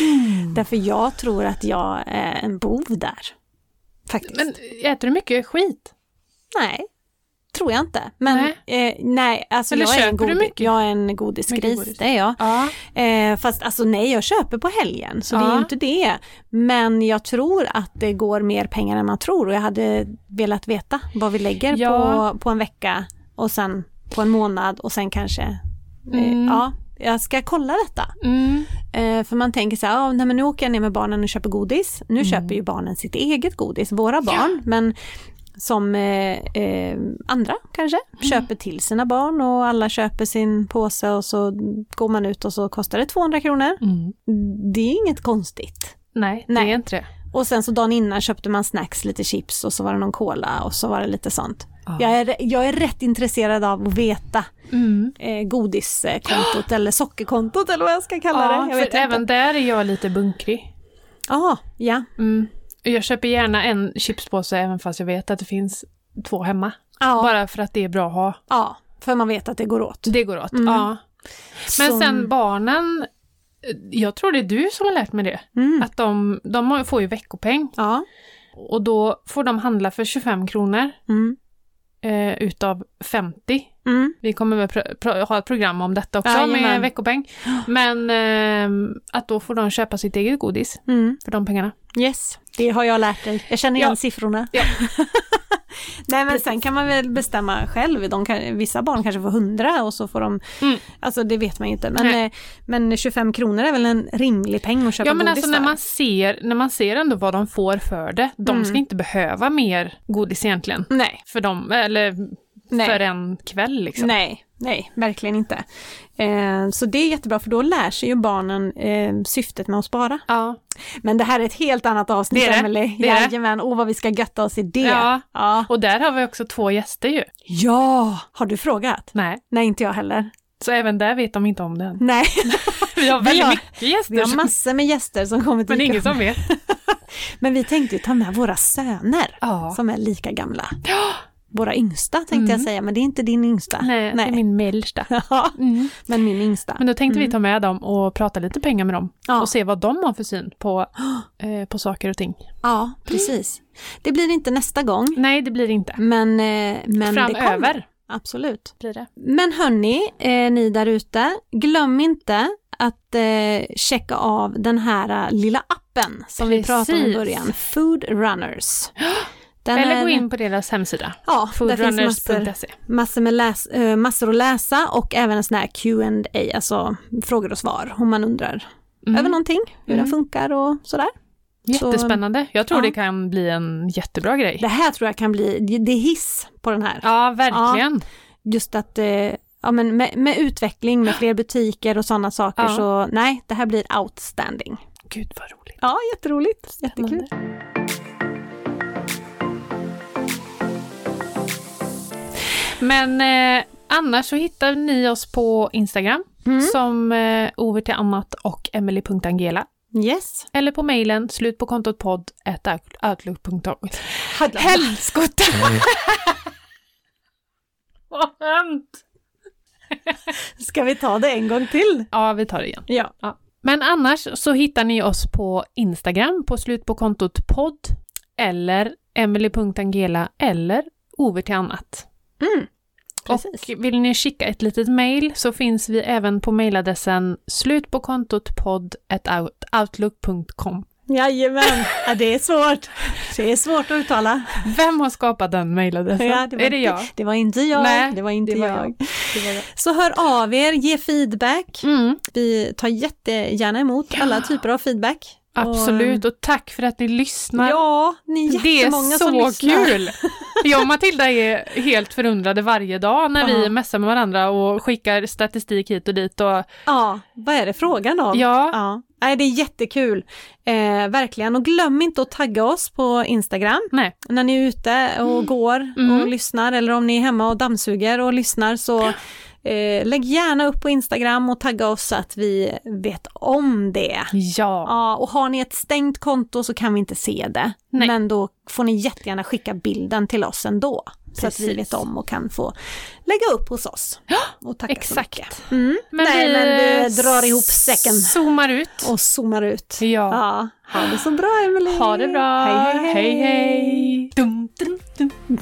Speaker 1: Mm.
Speaker 2: Därför jag tror att jag är en bov där. Faktiskt.
Speaker 1: Men eh, äter du mycket skit?
Speaker 2: nej, tror jag inte. Men nej, eh, nej alltså
Speaker 1: Eller
Speaker 2: jag är, en
Speaker 1: köper du
Speaker 2: godi-
Speaker 1: mycket?
Speaker 2: jag är en godisgris,
Speaker 1: Mycket godis.
Speaker 2: det är jag.
Speaker 1: Ja.
Speaker 2: Eh, fast alltså nej, jag köper på helgen, så det är
Speaker 1: Ja.
Speaker 2: ju inte det. Men jag tror att det går mer pengar än man tror och jag hade velat veta vad vi lägger
Speaker 1: Ja.
Speaker 2: på, på en vecka och sen på en månad och sen kanske... Eh,
Speaker 1: Mm.
Speaker 2: Ja, jag ska kolla detta.
Speaker 1: Mm.
Speaker 2: Eh, för man tänker så här, ah, nej, men nu åker jag ner med barnen och köper godis. Nu
Speaker 1: Mm.
Speaker 2: köper ju barnen sitt eget godis, våra barn, men som eh, eh, andra kanske,
Speaker 1: Mm.
Speaker 2: köper till sina barn och alla köper sin påse och så går man ut och så kostar det 200 kronor.
Speaker 1: Mm.
Speaker 2: Det är inget konstigt.
Speaker 1: Nej, det
Speaker 2: Nej.
Speaker 1: är inte det.
Speaker 2: Och sen så dagen innan köpte man snacks, lite chips och så var det någon cola och så var det lite sånt.
Speaker 1: Ja.
Speaker 2: Jag, är, jag är rätt intresserad av att veta
Speaker 1: Mm.
Speaker 2: eh, godiskontot eller sockerkontot eller vad jag ska kalla
Speaker 1: Ja,
Speaker 2: det. Jag
Speaker 1: för
Speaker 2: vet inte.
Speaker 1: även där är jag lite bunkrig.
Speaker 2: Ah, ja.
Speaker 1: Mm. Jag köper gärna en chipspåse även fast jag vet att det finns två hemma.
Speaker 2: Ja,
Speaker 1: Bara för att det är bra att ha.
Speaker 2: ja, för man vet att det går åt.
Speaker 1: Det går åt.
Speaker 2: Mm.
Speaker 1: Ja. Men
Speaker 2: Som-
Speaker 1: sen barnen, eh, jag tror det är du som har lärt mig det.
Speaker 2: Mm.
Speaker 1: Att de, de har- får ju veckopeng
Speaker 2: Ja.
Speaker 1: och då får de handla för 25 kronor
Speaker 2: Mm.
Speaker 1: eh, utav 50.
Speaker 2: Mm.
Speaker 1: Vi kommer väl pro- pro- ha ett program om detta också med
Speaker 2: Jajamän.
Speaker 1: veckopeng. Men ehm, att då får de köpa sitt eget godis
Speaker 2: Mm.
Speaker 1: för de pengarna.
Speaker 2: Yes, det har jag lärt dig. Jag känner igen
Speaker 1: Ja.
Speaker 2: siffrorna.
Speaker 1: Ja.
Speaker 2: Nej men sen kan man väl bestämma själv. De kan, vissa barn kanske får 100 och så får de,
Speaker 1: Mm.
Speaker 2: alltså det vet man ju inte. Men,
Speaker 1: Nej.
Speaker 2: eh, men 25 kronor är väl en rimlig peng att köpa
Speaker 1: Ja men
Speaker 2: godis
Speaker 1: alltså när
Speaker 2: för?
Speaker 1: man, ser, när man ser ändå vad de får för det. De
Speaker 2: Mm.
Speaker 1: ska inte behöva mer godis egentligen.
Speaker 2: Nej,
Speaker 1: För dem, eller
Speaker 2: nej.
Speaker 1: för en kväll liksom.
Speaker 2: Nej, nej, verkligen inte. Eh, så det är jättebra för då lär sig ju barnen eh, syftet med att spara.
Speaker 1: Ja.
Speaker 2: Men det här är ett helt annat avsnitt
Speaker 1: Det är det.
Speaker 2: Emelie.
Speaker 1: Det är det.
Speaker 2: Jajamän, åh vad vi ska götta oss i det.
Speaker 1: Ja.
Speaker 2: Ja.
Speaker 1: Och där har vi också två gäster ju.
Speaker 2: Ja, har du frågat?
Speaker 1: Nej.
Speaker 2: Nej, inte jag heller.
Speaker 1: Så även där vet de inte om det än.
Speaker 2: Nej,
Speaker 1: Vi har
Speaker 2: Vi
Speaker 1: väldigt
Speaker 2: har-
Speaker 1: mycket gäster.
Speaker 2: vi har massor med gäster som kommer
Speaker 1: men
Speaker 2: till
Speaker 1: ingen som vet.
Speaker 2: Men vi tänkte ju ta med våra söner
Speaker 1: Ja.
Speaker 2: som är lika gamla. våra yngsta tänkte
Speaker 1: Mm.
Speaker 2: jag säga, men det är inte din yngsta.
Speaker 1: Nej, det är min mellersta.
Speaker 2: Ja,
Speaker 1: Mm.
Speaker 2: men min yngsta.
Speaker 1: Men då tänkte vi ta med dem och prata lite pengar med dem
Speaker 2: Mm. Ja.
Speaker 1: och se vad de har för syn på, eh, på saker och ting.
Speaker 2: Ja, precis. Det blir inte nästa gång,
Speaker 1: Nej, det blir det inte.
Speaker 2: men, eh, men det kommer.
Speaker 1: Framöver
Speaker 2: Absolut.
Speaker 1: blir det.
Speaker 2: Men hörni, eh, ni där ute, glöm inte att eh, checka av den här eh, lilla appen som vi
Speaker 1: Precis.
Speaker 2: pratade om i början, Food Runners. Den
Speaker 1: Eller gå
Speaker 2: är-
Speaker 1: in på deras hemsida,
Speaker 2: Ja, där finns massor,
Speaker 1: foodrunners.se.
Speaker 2: massor, med läs, eh, massor att läsa och även en sån här Q&A, alltså frågor och svar om man undrar
Speaker 1: Mm.
Speaker 2: över någonting, hur
Speaker 1: Mm.
Speaker 2: den funkar och sådär. Så-
Speaker 1: Jättespännande. Jag tror
Speaker 2: Ja.
Speaker 1: det kan bli en jättebra grej.
Speaker 2: Det här tror jag kan bli, det- det är hiss på den här.
Speaker 1: Ja, verkligen.
Speaker 2: just att eh, ja, men med, med utveckling, med fler butiker och sådana saker
Speaker 1: Ja.
Speaker 2: så nej, det här blir outstanding.
Speaker 1: Gud vad roligt.
Speaker 2: Ja, jätteroligt. Jättekul.
Speaker 1: Men eh, annars så hittar ni oss på Instagram
Speaker 2: Mm.
Speaker 1: som eh, over till annat och emily.angela.
Speaker 2: Yes.
Speaker 1: Eller på mejlen slut på kontot podd at outlook.com. Helskotta! Vad hänt?
Speaker 2: Ska vi ta det en gång till?
Speaker 1: Ja, vi tar det igen.
Speaker 2: Ja.
Speaker 1: Men annars så hittar ni oss på Instagram på slut på kontot podd eller emily.angela eller over till annat.
Speaker 2: Mm.
Speaker 1: Och vill ni skicka ett litet mejl så finns vi även på mejladressen slutpåkontotpodd.outlook.com.
Speaker 2: Jajamän, ja, det är svårt. Det är svårt att uttala.
Speaker 1: Vem har skapat den mejladressen?
Speaker 2: Ja,
Speaker 1: är det jag?
Speaker 2: Det var inte jag.
Speaker 1: Nej,
Speaker 2: det var inte
Speaker 1: det var
Speaker 2: jag.
Speaker 1: jag. Det var jag.
Speaker 2: Så hör av er, ge feedback.
Speaker 1: Mm,
Speaker 2: Vi tar jättegärna emot alla typer av feedback.
Speaker 1: absolut, och tack för att ni lyssnar.
Speaker 2: Och, ja, ni är
Speaker 1: det
Speaker 2: jättemånga
Speaker 1: är
Speaker 2: som
Speaker 1: så
Speaker 2: lyssnar.
Speaker 1: kul! Jag och Matilda är helt förundrade varje dag när vi
Speaker 2: Ja.
Speaker 1: messar med varandra och skickar statistik hit och dit. Och,
Speaker 2: Ja, vad är det frågan om?
Speaker 1: ja,
Speaker 2: Ja, nej, det är jättekul. Eh, verkligen. Och glöm inte att tagga oss på Instagram
Speaker 1: nej.
Speaker 2: när ni är ute och går
Speaker 1: Mm.
Speaker 2: och lyssnar eller om ni är hemma och dammsuger och lyssnar så eh, lägg gärna upp på Instagram och tagga oss så att vi vet om det.
Speaker 1: Ja,
Speaker 2: Ja, och har ni ett stängt konto så kan vi inte se det.
Speaker 1: Nej.
Speaker 2: Men då får ni jättegärna skicka bilden till oss ändå. Så att vi
Speaker 1: Precis.
Speaker 2: vet om och kan få lägga upp hos oss. Och tacka
Speaker 1: exakt.
Speaker 2: så mycket. Mm.
Speaker 1: Men
Speaker 2: Nej,
Speaker 1: vi
Speaker 2: men vi drar ihop säcken.
Speaker 1: Zoomar ut.
Speaker 2: Och zoomar ut.
Speaker 1: Ja.
Speaker 2: Ja, ha det så bra Emelie.
Speaker 1: Ha det bra.
Speaker 2: Hej hej. hej.
Speaker 1: hej. Dum, dum, dum.